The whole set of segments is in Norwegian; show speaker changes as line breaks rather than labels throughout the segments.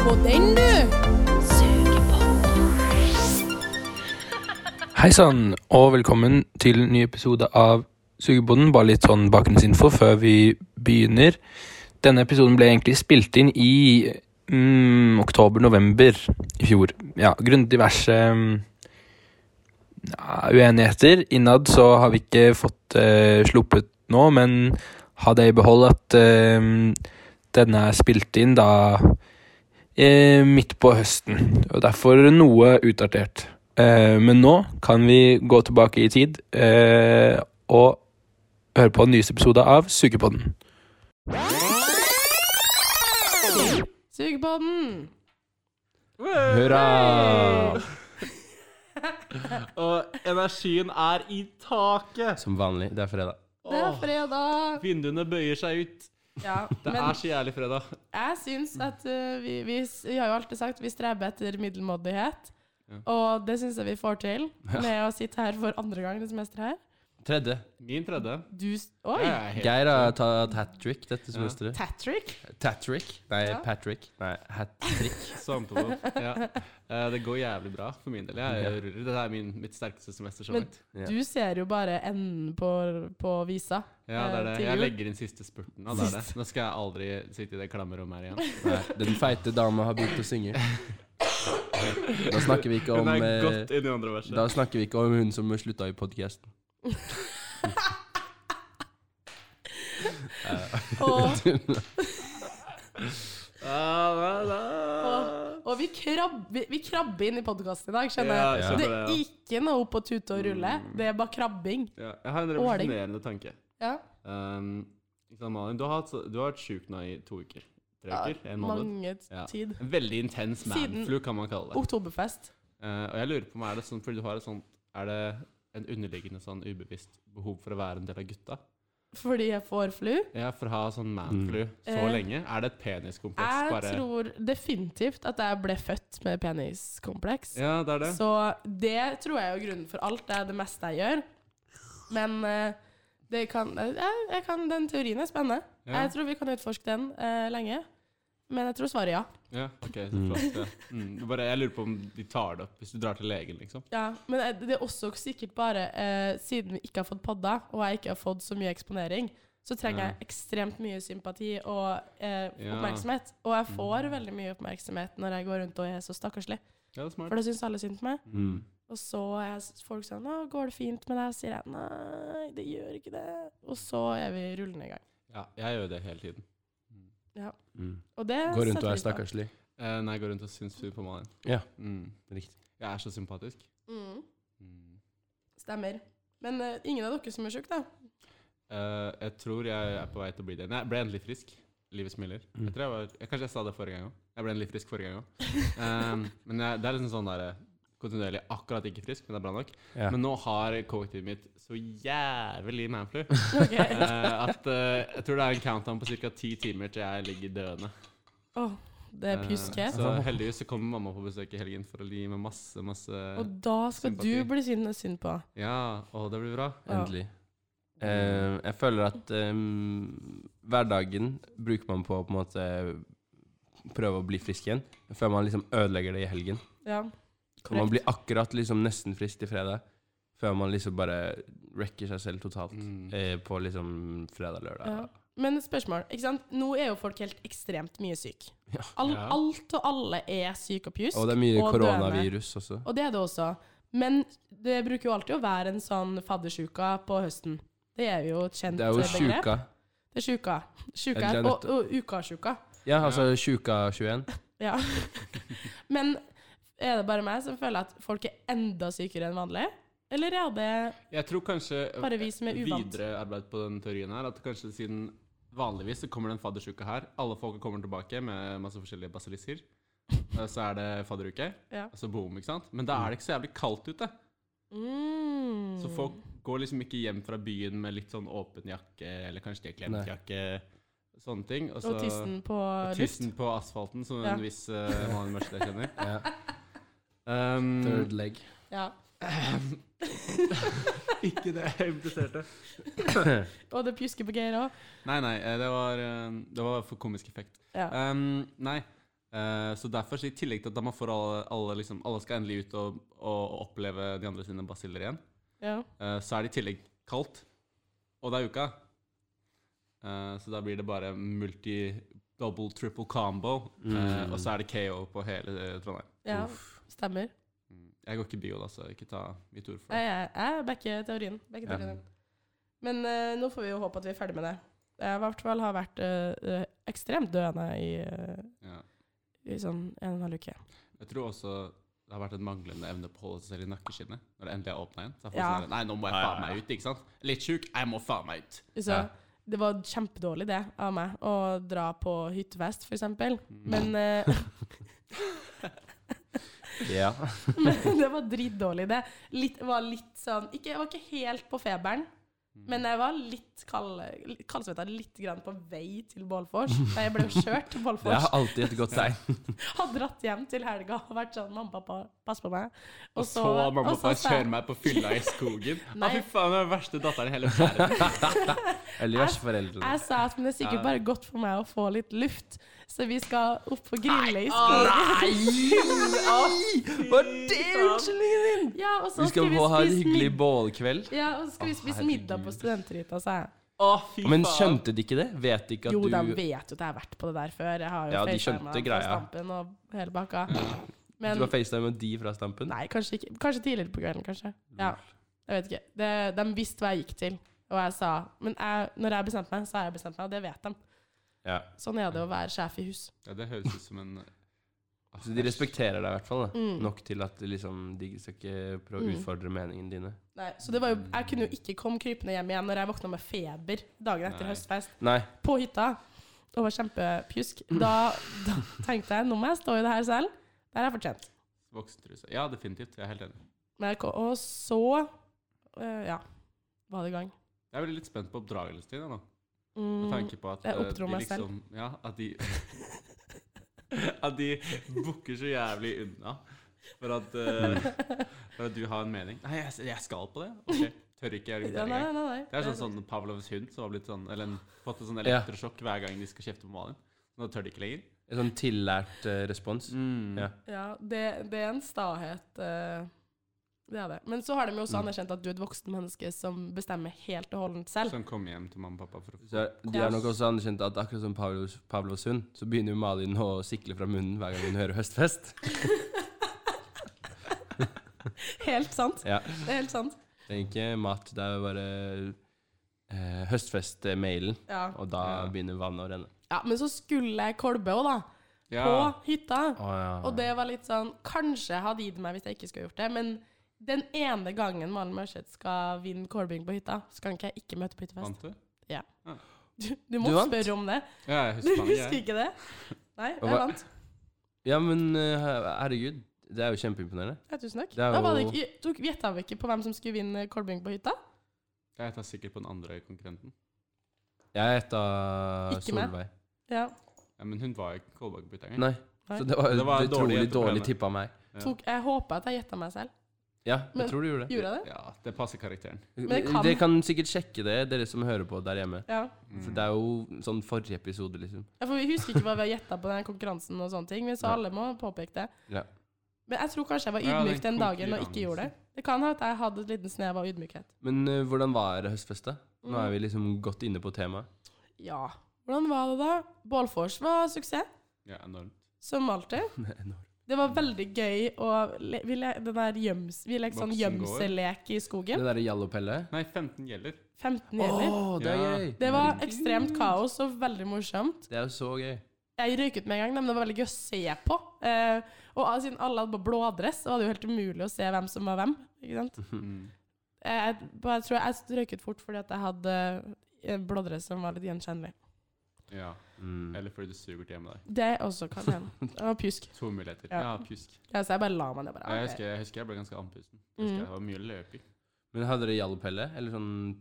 på den, du.
Hei sann, og velkommen til en ny episode av Sugebonden. Bare litt sånn bakgrunnsinfo før vi begynner. Denne episoden ble egentlig spilt inn i mm, oktober-november i fjor. Ja, Grunnet diverse mm, ja, uenigheter innad så har vi ikke fått eh, sluppet nå, men ha det i behold at eh, denne er spilt inn da eh, midt på høsten. Og derfor noe utdatert. Eh, men nå kan vi gå tilbake i tid eh, og høre på den nyeste episode av Sugepodden.
Sug på den.
Hurra! Og energien er i taket!
Som vanlig. Det er fredag.
Det er
Åh,
fredag.
vinduene bøyer seg ut.
Ja,
Det
men
er så jævlig fredag.
jeg syns at eh, vi, vi, s- vi har jo alltid sagt vi streber etter middelmådighet.
Ja.
Og det syns jeg vi får til med å sitte her for andre gang det semesteret her.
Tredje.
Min tredje.
Du s- Oi!
Jeg er helt-
Geir har tatt hat trick dette semesteret.
Tatrick?
Tatrick? Nei,
Ja.
Patrick. Nei, hat trick.
Samme på det. Ja. Eh, Det går jævlig bra for min del. Jeg er rurer. Dette er min, mitt sterkeste semester så
Men-
langt.
Ja.
Du ser jo bare enden på, på visa.
Ja, det er det.
eh, til
Jeg
jul.
legger inn siste spurten. Og det er det. Nå skal jeg aldri sitte i det klamme rommet her igjen.
Nei, den feite dama har begynt å synge. Da snakker vi ikke om
Hun er
eh,
godt inn i andre verset.
Da snakker vi ikke om hun som slutta i podkasten.
Og,
Ah, da, da.
og, og vi, krab, vi, vi krabber inn i podkasten i dag, skjønner
Ja,
jeg.
jeg
Det
skjønner
er
det, Mm. ja.
ikke noe opp og tute og rulle. Det er bare krabbing.
Ja, jeg har en
Åling.
revolusjonerende tanke.
Ja.
Um, ikke sant, Malin, du har hatt, du har vært sjuk nå i to uker. Tre uker? En måned?
Mange t-
Ja.
tid.
En veldig intens
Siden-
manflu, kan man kalle det.
Oktoberfest.
Eh, og jeg lurer på meg, er det sånn, fordi du har et sånt Er det en underliggende sånn ubevisst behov for å være en del av gutta?
Fordi jeg får flu.
Ja, for å ha sånn manflu så
Eh,
lenge? Er det et peniskompleks?
Jeg
Bare
tror definitivt at jeg ble født med peniskompleks.
Ja, det er det.
Så det tror jeg er jo grunnen for alt. Det er det meste jeg gjør. Men eh, det kan, jeg, jeg kan, den teorien er spennende.
Ja.
Jeg tror vi kan utforske den eh, lenge. Men jeg tror svaret er ja.
Ja, ok, så flott. Ja. Mm. Bare, jeg lurer på om de tar det opp hvis du drar til legen, liksom.
ja. Men eh, det er også sikkert bare eh, siden vi ikke har fått padda, og jeg ikke har fått så mye eksponering, så trenger
Ja.
jeg ekstremt mye sympati og eh,
Ja.
oppmerksomhet. Og jeg får veldig mye oppmerksomhet når jeg går rundt og er så stakkarslig.
Ja, det er smart.
For det syns alle synd på meg.
Mm.
Og så er jeg- folk sånn 'Å, går det fint med deg?' sier jeg 'Nei, det gjør ikke det'. Og så er vi rullende i gang.
Ja, jeg gjør det hele tiden.
Mm.
Og det
Går rundt
setter vi
og er
pris på.
stakkarslig.
Eh, nei, jeg går rundt og syns sur på Malin.
Ja.
Mm.
Riktig.
Jeg er så sympatisk.
Mm,
Mm.
stemmer. Men eh, ingen av dere som er sjuke, da?
Eh, jeg tror jeg er på vei til å bli det. Men jeg ble endelig frisk. Livet smiler.
Mm.
Jeg tror jeg var, jeg, kanskje jeg sa det forrige gang òg. Jeg ble endelig frisk forrige gang òg. men jeg, det er liksom sånn der eh, kontinuerlig akkurat ikke frisk, men det er bra nok.
Ja.
Men nå har kollektivet mitt så jævlig manflu
Ok.
eh, at eh, jeg tror det er en countdown på ca. ti timer til jeg ligger døende.
Åh, det er
Eh,
pjuske.
så heldigvis så kommer mamma på besøk i helgen for å gi meg masse, masse
Og da skal
eh, sympati.
du bli synd synd på.
Ja, å, det blir bra.
Ja.
Endelig. Eh, jeg føler at eh, hverdagen bruker man på å på en måte prøve å bli frisk igjen, før man liksom ødelegger det i helgen.
Ja.
Kan man bli akkurat liksom nesten frisk til fredag, før man liksom bare wrecker seg selv totalt
Mm.
eh, på liksom fredag-lørdag.
Ja. Men spørsmål, ikke sant? Nå er jo folk helt ekstremt mye syk.
Ja.
All,
Ja.
Alt og alle er syk og pjusk.
Og det er mye
og
koronavirus også.
Og det er det også. Men det bruker jo alltid å være en sånn faddersjuka på høsten. Det er jo et kjent
Det er jo
begrep.
sjuka.
Det er sjuka. Sjuka
Eller det er
og, og ukasjuka.
Ja, altså sjuka 21.
Ja. Men er det bare meg som føler at folk er enda sykere enn vanlig? Eller er det
Jeg tror kanskje
bare vi som er uvant?
videre arbeid på den teorien her, at kanskje siden vanligvis så kommer den faddersjuka her, alle folk kommer tilbake med masse forskjellige basilisser, Eh, så er det fadderuke,
Ja.
altså boom, ikke sant? Men da er det ikke så jævlig kaldt ute,
Mm.
så folk går liksom ikke hjem fra byen med litt sånn åpen jakke, eller kanskje de har klemt
Nei.
jakke, sånne ting. så-
Og tissen på
og
luft.
tissen på asfalten, som
Ja.
en viss uh, mann i mørket jeg kjenner.
Ja.
Um,
Third leg.
Ja.
ikke det jeg impliserte.
Og det pjusker på Geir òg.
Nei, nei, eh, det var, eh, det var for komisk effekt.
Ja.
Um, nei, Eh, så derfor, så i tillegg til at da man får alle, alle, liksom, alle skal endelig ut og, og oppleve de andre sine basiller igjen,
Ja.
eh, så er det i tillegg kaldt. Og det er uka. Eh, så da blir det bare multi, double, triple combo. eh,
Mm.
og så er det KO på hele eh, Trondheim.
ja.
Uff.
Stemmer.
Mm. Jeg går ikke bio, da, så ikke ta mitt ord for
Nei, jeg,
det.
jeg backer teorien. Backer
Ja.
teorien. Men eh, nå får vi jo håpe at vi er ferdig med det. Jeg i hvert fall har vært eh, eh, ekstremt døende i, eh,
Ja.
i sånn en og en halv uke.
Jeg tror også det har vært en manglende evne på å holde seg selv i nakkeskinnet. Når det endelig er åpna igjen. Så er folk
Ja.
sånn der, Nei, nå må jeg
Ja,
faen
ja, ja.
meg ut, ikke sant? Litt sjuk, jeg må faen meg ut.
Så
Ja.
det var kjempedårlig det av meg å dra på hyttefest, for eksempel.
Mm.
Men, eh,
Ja.
men det var dritdårlig det. Litt, var litt sånn, ikke, jeg var ikke helt på feberen,
Mm.
men jeg var litt kald, litt kaldsvetta litt grann på vei til Bålfors. Nei, jeg ble jo kjørt til
Det
Bålfors.
er alltid et godt tegn.
Har dratt hjem til helga og vært sånn, mamma og pappa, pass på meg.
Og så mamma og
og så
pappa
sa jeg-
kjører meg på fylla i skogen. Å,
Nei.
fy faen, det er den verste datteren i hele verden.
Eller verseforeldrene.
Jeg sa at men det er sikkert
Ja.
bare godt for meg å få litt luft, så vi skal opp og grille i skogen.
Hva er det unnskyldningen din?
Ja, og
Vi
så
skal
skal vi
få ha en
spise
hyggelig
middag.
bålkveld.
Ja, og så skal vi
Å,
spise
herregud.
middag på studenthytta, sa jeg.
Å, fy faen.
Men skjønte de ikke det? Vet de ikke at
Jo,
du
de vet jo at jeg har vært på det der før. Jeg har jo
Ja, de
facetimet
skjønte
dem på
greia.
Stampen og hele bakka. Men
Du har facetime med de fra Stampen?
Nei, kanskje ikke. Kanskje tidligere på kvelden, kanskje. Ja, jeg vet ikke. Det, de visste hva jeg gikk til, og jeg sa Men jeg, når jeg bestemte meg, så har jeg bestemt meg, og det vet de.
Ja.
Sånn er det å være sjef i hus.
Ja, det høres ut som en altså,
Så de respekterer deg i hvert fall. Da.
Mm.
Nok til at liksom, de skal ikke prøve å
Mm.
utfordre meningene dine.
Nei, så det var jo, jeg kunne jo ikke komme krypende hjem igjen når jeg våkna med feber dagen etter
Nei.
høstfest
Nei.
på hytta og var kjempepjusk. Da, da tenkte jeg nå må jeg stå i det her selv. Det her er fortjent.
voksentruse. Ja, definitivt. Jeg er helt enig.
Men jeg, ko- og så eh, ja, var det i gang.
Jeg er veldig litt spent på oppdragelsen din jeg, nå. Med
Mm,
tanke på at
jeg
eh,
oppdro
de
meg selv.
liksom- Ja, at de At de bukker så jævlig unna for at, eh, for at du har en mening. Nei, jeg, jeg skal på det. Ok, tør ikke
ja,
argumentere
nei,
engang.
nei, nei.
Det er sånn, sånn Pavlovs hund som har blitt sånn, eller en, fått en sånn
Ja.
elektrosjokk hver gang de skal kjefte på Malin. Nå tør de ikke lenger.
En sånn tillært eh, respons.
Mm.
Ja.
Ja, det, det er en stahet. eh, det er det. Men så har de jo
Mm.
også anerkjent at du er et voksen menneske som bestemmer helt og holdent selv.
Som kom hjem til mamma og pappa for å
Så de har nok også anerkjent at akkurat som Pavlos, Pavlos hund, så begynner jo Malin å sikle fra munnen hver gang hun hører høstfest.
Helt sant.
Ja.
Det er helt sant.
Det er ikke mat, det er bare eh, høstfest-mailen.
Ja.
Og da
Ja.
begynner vannet å renne.
ja, men så skulle jeg kolbe òg, da.
ja.
På hytta.
ja.
Og det var litt sånn Kanskje hadde gitt meg hvis jeg ikke skulle gjort det, men den ene gangen Malen Mørseth skal vinne kolbing på hytta, så kan ikke jeg ikke møte på hyttefest.
Vant du?
Du, du må
Du vant?
spørre om det.
Ja, jeg
Du
husker mange,
husker
jeg.
ikke det? Nei,
Hva-
jeg vant.
Ja, men eh, herregud, det er jo kjempeimponerende.
Ja, tusen takk.
Det er
Da var det
jo-
ikke, tok, gjetta vi ikke på hvem som skulle vinne kolbing på hytta?
Jeg tar sikkert på den andre konkurrenten.
Jeg gjetta
Ikke meg.
Solveig.
Ja.
Ja, men hun var jo ikke Kolbakk-bytter engang.
Nei.
Nei.
Så det var,
Det var
et utrolig
dårlig
dårlig,
gjetteproblem.
tippa av meg.
Ja.
Tok, jeg håper at jeg gjetta meg selv.
Ja, jeg
Men-
tror du gjorde det.
Gjorde jeg det?
Ja, det passer karakteren.
Men det kan-
Dere kan sikkert sjekke det, dere som hører på der hjemme.
Ja.
For
Mm.
det er jo sånn forrige episode, liksom.
Ja, For vi husker ikke hva vi har gjetta på den konkurransen, og sånne ting, men så
Nei.
alle må påpeke det.
Ja.
Men jeg tror kanskje jeg var
Ja, den
ydmyk den dagen og ikke gjorde
konkurransen.
det. Det kan ha at jeg hadde et liten snev av ydmykhet.
Men eh, hvordan var høstfestet? Nå
Mm.
er vi liksom godt inne på temaet.
Ja. Hvordan var det da? Bålfors var suksess,
Ja, enormt.
som alltid. Det var veldig gøy å le, vi, le, den der gjems, vi lekte sånn
Voksengård.
gjemselek i skogen.
Det derre jallopelle.
Nei, 15 gjelder.
15
Å,
gjelder.
det er
Ja.
gøy!
Det var ekstremt kaos og veldig morsomt.
Det er jo så gøy.
Jeg røyket med en gang, men det var veldig gøy å se på. Eh, og al- siden alle hadde på blådress, så var det jo helt umulig å se hvem som var hvem. Ikke sant?
Mm.
Eh, jeg, bare tror jeg røyket fort fordi at jeg hadde eh, blådress som var litt gjenkjennelig.
Ja.
Mm.
Eller fordi du suger til hjemme deg.
Det også kan hende. Det var pjusk.
To muligheter.
Ja.
Ja, pjusk.
Ja, så jeg bare la meg ned. Bare,
Ja, jeg,
ok.
husker, jeg husker jeg ble ganske andpusten. Jeg husker
Mm.
Det var mye løping.
Men hadde dere jallopelle? Eller sånn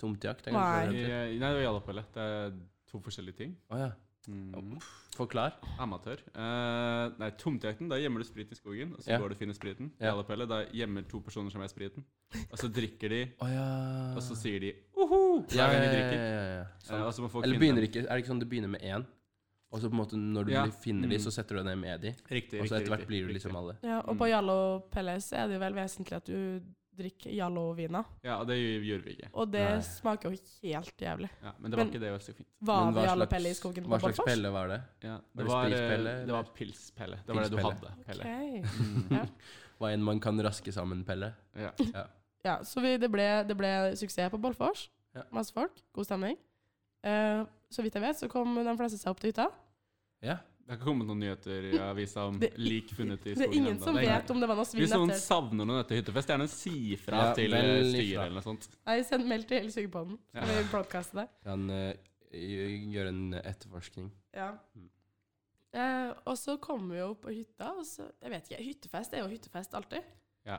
tomtjakt? er kanskje
Nei.
det
eh, Nei,
det heter.
det var jalapelle. Det er to forskjellige ting.
Å ja.
Mm.
Forklar.
Amatør. Eh, nei, tomtjakten, da gjemmer du sprit i skogen, og så
Ja.
går du og finner spriten.
Ja.
Jalapelle, da gjemmer to personer som er spriten, og så drikker de,
Å ja.
og så sier de uhu hver gang de drikker.
ja, ja, ja.
Eh, og så må folk
Ah. Eller
finne
begynner
dem.
ikke Er det ikke sånn det begynner med én? Og så på en måte når du
Ja.
finner de,
Mm.
så setter du deg ned med de.
Riktig.
Og så
riktig,
etter hvert
riktig,
blir du
riktig.
liksom alle.
Ja, og på
Mm.
Jallo Pelles er det jo vel vesentlig at du drikker Jallo-vina.
Ja, det gjorde vi ikke.
Og det
Nei.
smaker jo helt jævlig.
Ja, men det var
Men-
ikke det som var så fint.
Var
Men hva
det Jallo
slags-
Pelle i skogen på
Hva slags
Barfors?
pelle var det?
Ja,
det
det, var,
spritpelle,
eh, det var
eller?
pilspelle. Det var det du
Pilspelle.
hadde. Pelle.
Ok.
Mm.
Ja.
Hva enn man kan raske sammen, pelle.
Ja.
Ja, så vi, det, ble, det ble suksess på Bollfors.
Ja.
Masse folk, god stemning. Eh, så vidt jeg vet, så kom de fleste seg opp til hytta.
Ja.
Det har ikke kommet noen nyheter i avisa om
Det-
Mm, lik funnet i
Det er
skogen
ingen
ennå.
som
Det er
vet om det var noe svinn
Hvis noen
etter.
savner noen etter hyttefest, gjerne si ifra
Ja,
til
vel
eh,
ifra.
styret eller noe sånt.
Nei, send meld til hele sugepodden, så
Ja.
kan vi broadcaste det.
Kan eh, gj- gjøre en etterforskning.
Ja.
Mm.
Eh, og så kom vi jo på hytta, og så Jeg vet ikke, hyttefest er jo hyttefest alltid.
Ja.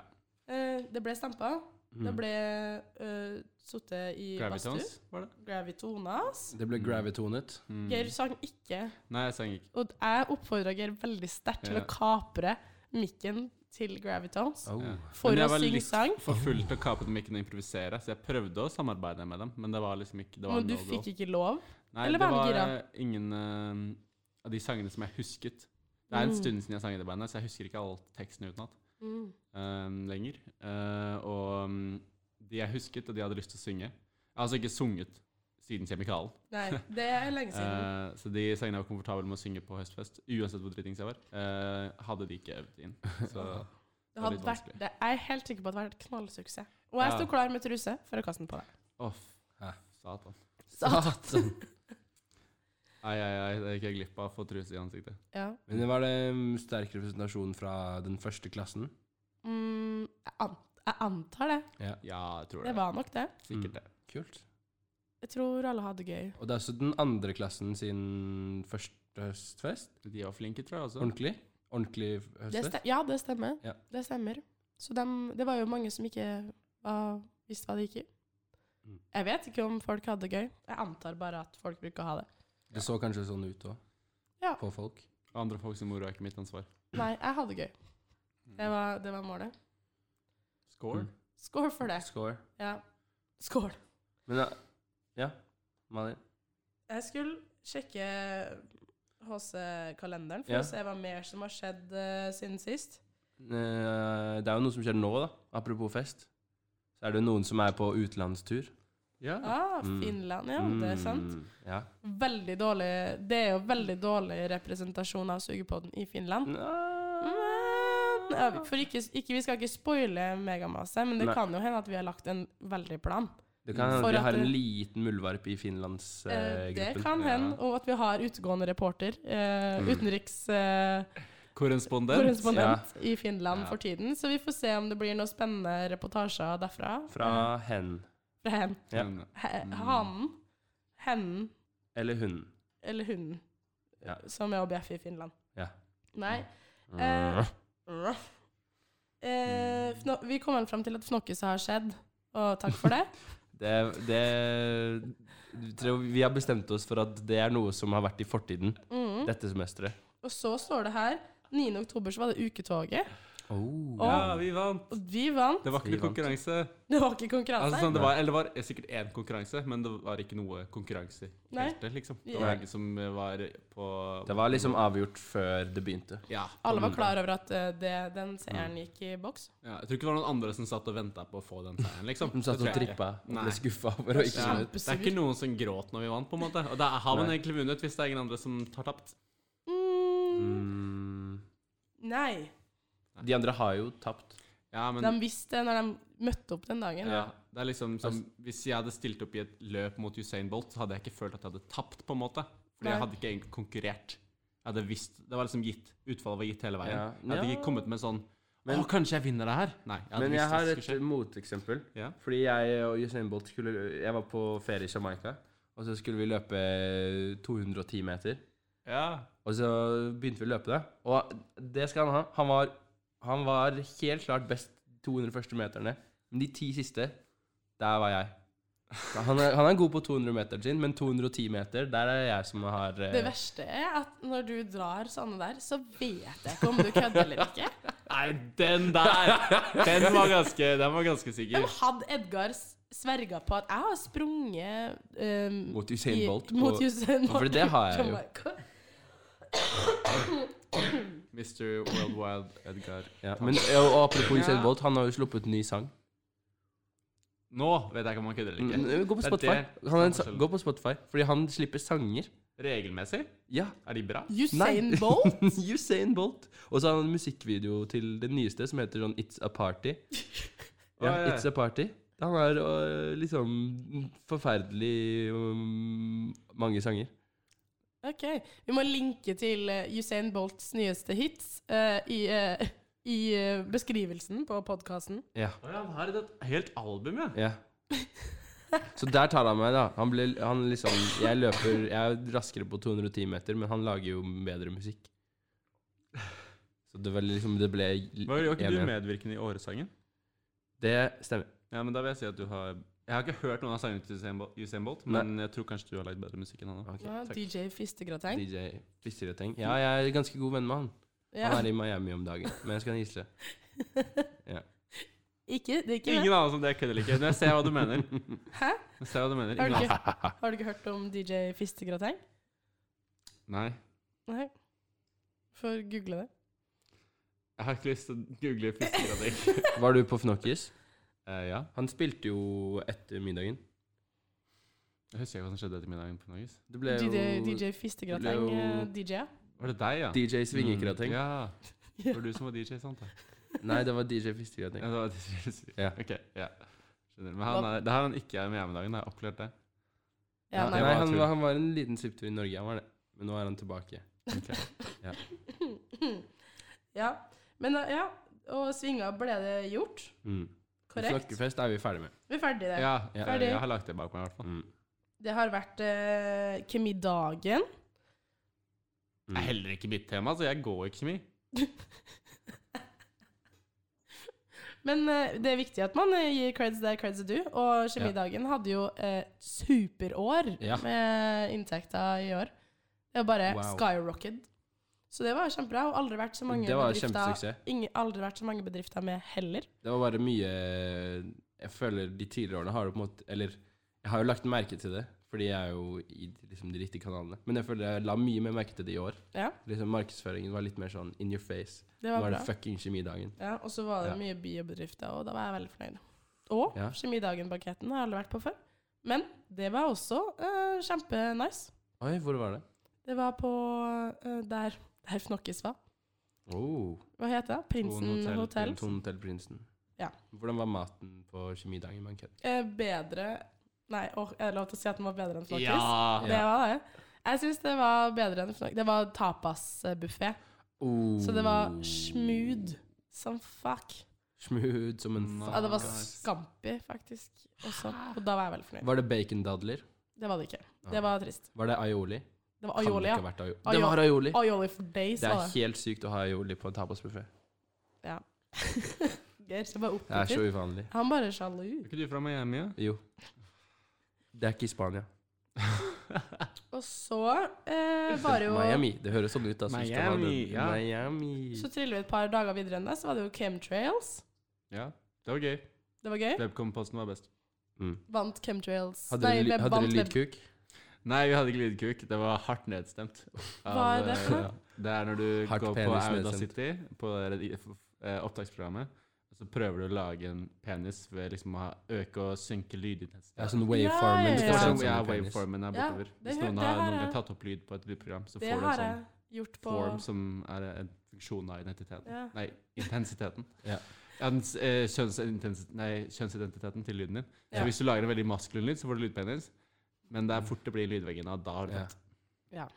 Eh, det ble stampa. Det
Mm.
ble eh, sittet i badstue.
Gravitons, var det?
Gravitonas.
Det ble
Mm.
gravitonet.
Mm.
Geir sang ikke.
Nei, jeg sang ikke.
Og jeg oppfordra Geir veldig sterkt til
Ja.
å kapre mikken til Gravitones
Oh.
Ja.
for
Men
å
jeg var
synge
litt
sang.
For fullt og kapet mikken og improvisere, så jeg prøvde å samarbeide med dem, men det var liksom ikke det var
Men du
no go.
fikk ikke lov.
Nei,
eller var han
det var eh, ingen eh, av de sangene som jeg husket. Det er en
Mm.
stund siden jeg sang i det bandet, så jeg husker ikke all teksten utenat
Mm.
eh, lenger. Eh, og mm, de jeg husket, og de jeg hadde lyst til å synge Jeg har altså ikke sunget siden Kjemikalen.
Nei, det er lenge siden.
Eh, så de sangene jeg var komfortabel med å synge på høstfest, uansett hvor dritings jeg var, eh, hadde de ikke øvd inn. Så
det hadde
litt
vært,
vanskelig.
det, jeg er helt sikker på at det hadde vært knallsuksess. Og jeg
Ja.
sto klar med truse for å kaste den på deg.
åh,
Hæ?
satan.
Satan!
Ai, ai, ai, det gikk jeg glipp av å få truse i ansiktet.
Ja.
Men var det mm, sterk representasjon fra den første klassen?
Mm, jeg, an, jeg antar det.
Ja, jeg tror det.
Det var nok det.
Sikkert
Mm.
det.
Kult.
Jeg tror alle hadde det gøy.
Og det er også den andre klassen sin første høstfest?
De var flinke, tror jeg også.
Ordentlig? Ordentlig
Det
høstfest?
ste, ja, det stemmer.
Ja.
Det stemmer. Så dem, det var jo mange som ikke var, visste hva det gikk i.
Mm.
Jeg vet ikke om folk hadde det gøy. Jeg antar bare at folk bruker å ha det.
Det så kanskje sånn ut òg,
Ja.
på folk.
Andre folk som moro er ikke mitt ansvar.
Nei, jeg hadde det gøy. Det var, det var målet.
Score?
Mm.
Skål for det.
Score.
Ja. Skål.
Men ja, ja. Malin.
Jeg skulle sjekke HC-kalenderen for
Ja.
å se hva mer som har skjedd eh, siden sist.
Eh, det er jo noe som skjer nå, da. Apropos fest. Så er det jo noen som er på utenlandstur.
Ja.
Ah,
Mm.
Finland, ja. Det er sant.
Mm, Ja.
Veldig dårlig Det er jo veldig dårlig representasjon av sugepodden i
Mm.
Finland. Men ja, For ikke, ikke, Vi skal ikke spoile megamasse, men det
Nei.
kan jo hende at vi har lagt en veldig plan.
Det kan hende
For
at vi
at
har en
det-
liten muldvarp i
Eh, det
Finlandsgruppen.
kan hende.
ja.
Og at vi har utegående reporter, eh, utenriks... Eh,
Korrespondent?
korrespondent i Finland
Ja.
for tiden. Så vi får se om det blir noen spennende reportasjer derfra.
Fra hen.
Fra hen.
Ja.
Men,
He, hanen, hennen
Eller hun.
eller hunden
Ja.
som er objekt i Finland.
Ja.
Nei. Eh,
Mm.
eh, Fno- vi kom vel frem til at fnokkis har skjedd, og takk for det.
Det, det jeg tror Vi har bestemt oss for at det er noe som har vært i fortiden
Mm.
dette semesteret.
Og så står det her 9. oktober så var det uketoget,
Oh.
Ja, vi vant!
og vi vant.
Det var ikke noe
Vi vant.
konkurranse.
Det var ikke konkurranse.
Altså, sånn, det var, eller det var sikkert én konkurranse, men det var ikke noe konkurranse. i
Nei.
feltet, Liksom. Det
Ja.
var ingen som var på
Det var liksom avgjort før det begynte.
ja.
Alle var klar over at eh, det, den seieren
Mm.
gikk i boks.
ja. Jeg tror ikke det var noen andre som satt og venta på å få den seieren, liksom.
De satt
Det
og
tror jeg ikke.
trippa og
Nei.
ble skuffa over å ikke
Ja.
skjønne ut.
Det er ikke noen som gråt når vi vant, på en måte. Og da har man
Nei.
egentlig vunnet, hvis det er ingen andre som har tapt.
Mm.
Mm.
Nei.
De andre har jo tapt.
Ja, men
De visste det når de møtte opp den dagen.
ja, det er liksom som Hvis jeg hadde stilt opp i et løp mot Usain Bolt, så hadde jeg ikke følt at jeg hadde tapt, på en måte. Fordi
Nei.
jeg hadde ikke egentlig konkurrert. Jeg hadde visst Det var liksom gitt. Utfallet var gitt hele veien.
Ja.
Jeg hadde
Ja.
ikke kommet med sånn
Men-
Å, kanskje jeg vinner det her? Nei. Jeg hadde
Men jeg
visst
har
det
et
skulle skje.
moteksempel.
Ja.
Fordi jeg og Usain Bolt skulle Jeg var på ferie i Jamaica, og så skulle vi løpe 210 meter.
Ja.
Og så begynte vi å løpe det. Og det skal han ha. Han var, han var helt klart best de 200 første meterne. Men de ti siste, der var jeg. Så Han er, han er god på 200-meteren sin, men 210 meter, der er jeg som har eh,
Det verste er at når du drar sånne der, så vet jeg ikke om du kødder eller ikke.
Nei, den der! Den var ganske, den var ganske sikker.
Men hadde Edgar s- sverga på at jeg har sprunget um,
Mot Usain Bolt
I, mot
på-
Usain Bolt
For det har jeg jo.
Jamaica,
Mr. Worldwide Edgar.
Ja. Men ja, og apropos Usain Bolt, han har jo sluppet ny sang.
Nå vet jeg ikke om han kødder eller ikke.
Mm, Gå på
Det er
Spotify.
det
Han er en,
som er
sa- gå på Spotify, fordi han slipper sanger.
Regelmessig?
Ja.
Er de bra?
Usain Bolt?
Usain Bolt. Og så har han en musikkvideo til det nyeste som heter sånn It's a Party. Ja,
Å, ja.
It's a Party. Han har øh, liksom forferdelig um, mange sanger.
Ok, vi må linke til eh, Usain Bolts nyeste hits eh, i, eh, i eh, beskrivelsen på podkasten.
Ja.
Å ja, han har et helt album, ja.
ja. Så der tar han meg, da. Han, ble, han liksom Jeg løper Jeg er raskere på 210 meter, men han lager jo bedre musikk. Så det var liksom Det ble
Var jo ikke
en-
du medvirkende i Åresangen?
Det stemmer.
Ja, men da vil jeg si at du har Jeg har ikke hørt noen av sangene til Usain Bolt- Usain Bolt, men jeg tror kanskje du har lagd bedre musikk enn han. da.
Ok,
Ja,
takk.
DJ Fistegrateng.
DJ Fissereteng. Ja, jeg er ganske god venn med han.
Ja.
Han er i Miami om dagen, men jeg skal gisle.
Ikke, det er ikke
Ingen aner som det kødder ikke. Men jeg ser hva du mener.
Hæ?
Jeg ser hva du mener.
Har du,
Ingen aner.
ikke, har du ikke hørt om DJ Fistegrateng?
Nei.
Nei. Får google det.
Jeg har ikke lyst til å google fiskegrading.
Var du på Fnokkis?
uh, ja.
Han spilte jo etter middagen.
Jeg husker ikke hva som skjedde etter middagen på Norges.
Det ble jo
DJ, DJ Fistegrateng
jo-
eh, DJ-a.
Var det deg, ja? Mm,
DJ Svingekrateng.
Ja. Det var du som var DJ, sant? da?
Nei, det var DJ
Ja,
Fissekrateng.
det var DJ.
Ja.
Ok, ja. Skjønner. Men han er, det her er han ikke er med hjemme dagen, det har jeg oppklart det.
Ja,
Ja,
Nei,
nei.
var
han,
tull.
var- han var en liten svipptur i Norge, han var det. Men nå er han tilbake.
ja. Men eh, ja, og svinga ble det gjort.
Mm.
Korrekt.
Fnokkefest er vi ferdig med.
Vi er ferdig der.
Ja,
Ja.
jeg, jeg har lagt det bak meg i hvert fall.
Mm.
Det har vært eh, kemidagen.
Mm.
Det er heller ikke mitt tema, så jeg går ikke så mye.
Men eh, det er viktig at man eh, gir creds der creds er due. Og Kjemidagen hadde jo eh, superår
Ja.
med inntekta i år. Det var bare
Wow.
skyrocket. Så det var kjempebra. Og aldri vært så mange
Det var
bedrifter
kjempesuksess.
ingen, Aldri vært så mange bedrifter med heller.
Det var bare mye Jeg føler de tidligere årene har jo på en måte Eller jeg har jo lagt merke til det, fordi jeg er jo i liksom, de riktige kanalene. Men jeg føler jeg la mye mer merke til det i år.
Ja.
Liksom Markedsføringen var litt mer sånn in your face.
Det
Nå
var
er
bra.
det fucking kjemidagen.
Ja, og så var det
Ja.
mye biobedrifter, og da var jeg veldig fornøyd. Og
Ja.
Kjemidagen-banketten har jeg aldri vært på før. Men det var også eh, kjempenice.
Oi, hvor var det?
Det var på eh, der, der Fnokkis var.
Oh,
Hva heter det? Prinsen
Thon Hotel.
hotell.
Tone Hotel Prinsen.
Ja.
Hvordan var maten på kjemidagen? bankett?
eh, bedre Nei, åh, er det lov til å si at den var bedre enn Flåkis?
Ja!
Det var det. Jeg syns det var bedre enn Flåkis. Det var tapasbuffé,
Oh.
så det var smooth som fuck.
Smooth som en
Nice.
Ja, det var
Nice.
scampi, faktisk, også. Og da var jeg veldig fornøyd.
Var det bacondadler?
Det var det ikke. Det var trist.
Var det aioli?
Det var
Kan det
aioli,
ikke ha
ja.
vært aioli?
Aio-
Det var aioli!
Aioli for days,
Det er
var det.
helt sykt å ha aioli på en tapasbuffé.
Geir så bare
Det er så
opptatt.
uvanlig.
Han bare sjalu.
Er ikke du fra Miami, ja?
Jo. Det er ikke i Spania.
Og så eh, var det jo
Miami. Det høres sånn ut. Altså. hvis du hadde-
Miami, ja.
Miami.
Så triller vi et par dager videre enn det, så var det jo chemtrails.
Ja. Det var gøy.
Det var gøy.
Webcom-posten var best.
Mm.
Vant chemtrails.
Hadde dere,
Nei,
ly- hadde
vant
dere
web-
lydkuk?
Nei, vi hadde ikke lydkuk. Det var hardt nedstemt.
Hva er det for noe?
eh, Det er når du
Hardt
går på
penis
Audacity, på redi- f- f- eh, opptaksprogrammet, og så prøver du å lage en penis ved liksom å ha- øke og synke
Ja,
lydintensiteten.
sånn
Ja,
waveformen.
ja,
Det er
ja.
står
sånn,
sånn
ja,
som en penis.
waveformen
Ja,
er bortover.
det
Hvis
hø-
noen
det
har,
her
noen
er-
har tatt opp lyd på et lydprogram,
Det
så får du en
har
sånn
jeg gjort på
form som er en funksjon av identiteten.
Ja.
Nei, intensiteten.
Ja.
Ja, den s- eh, kjønnsintensi- nei, kjønnsidentiteten til lyden din.
Ja.
Så hvis du lager en veldig maskulin lyd, så får du lydpenis. Men det er fort det blir lydveggen av. Da har du
Mm. Ja.
tatt.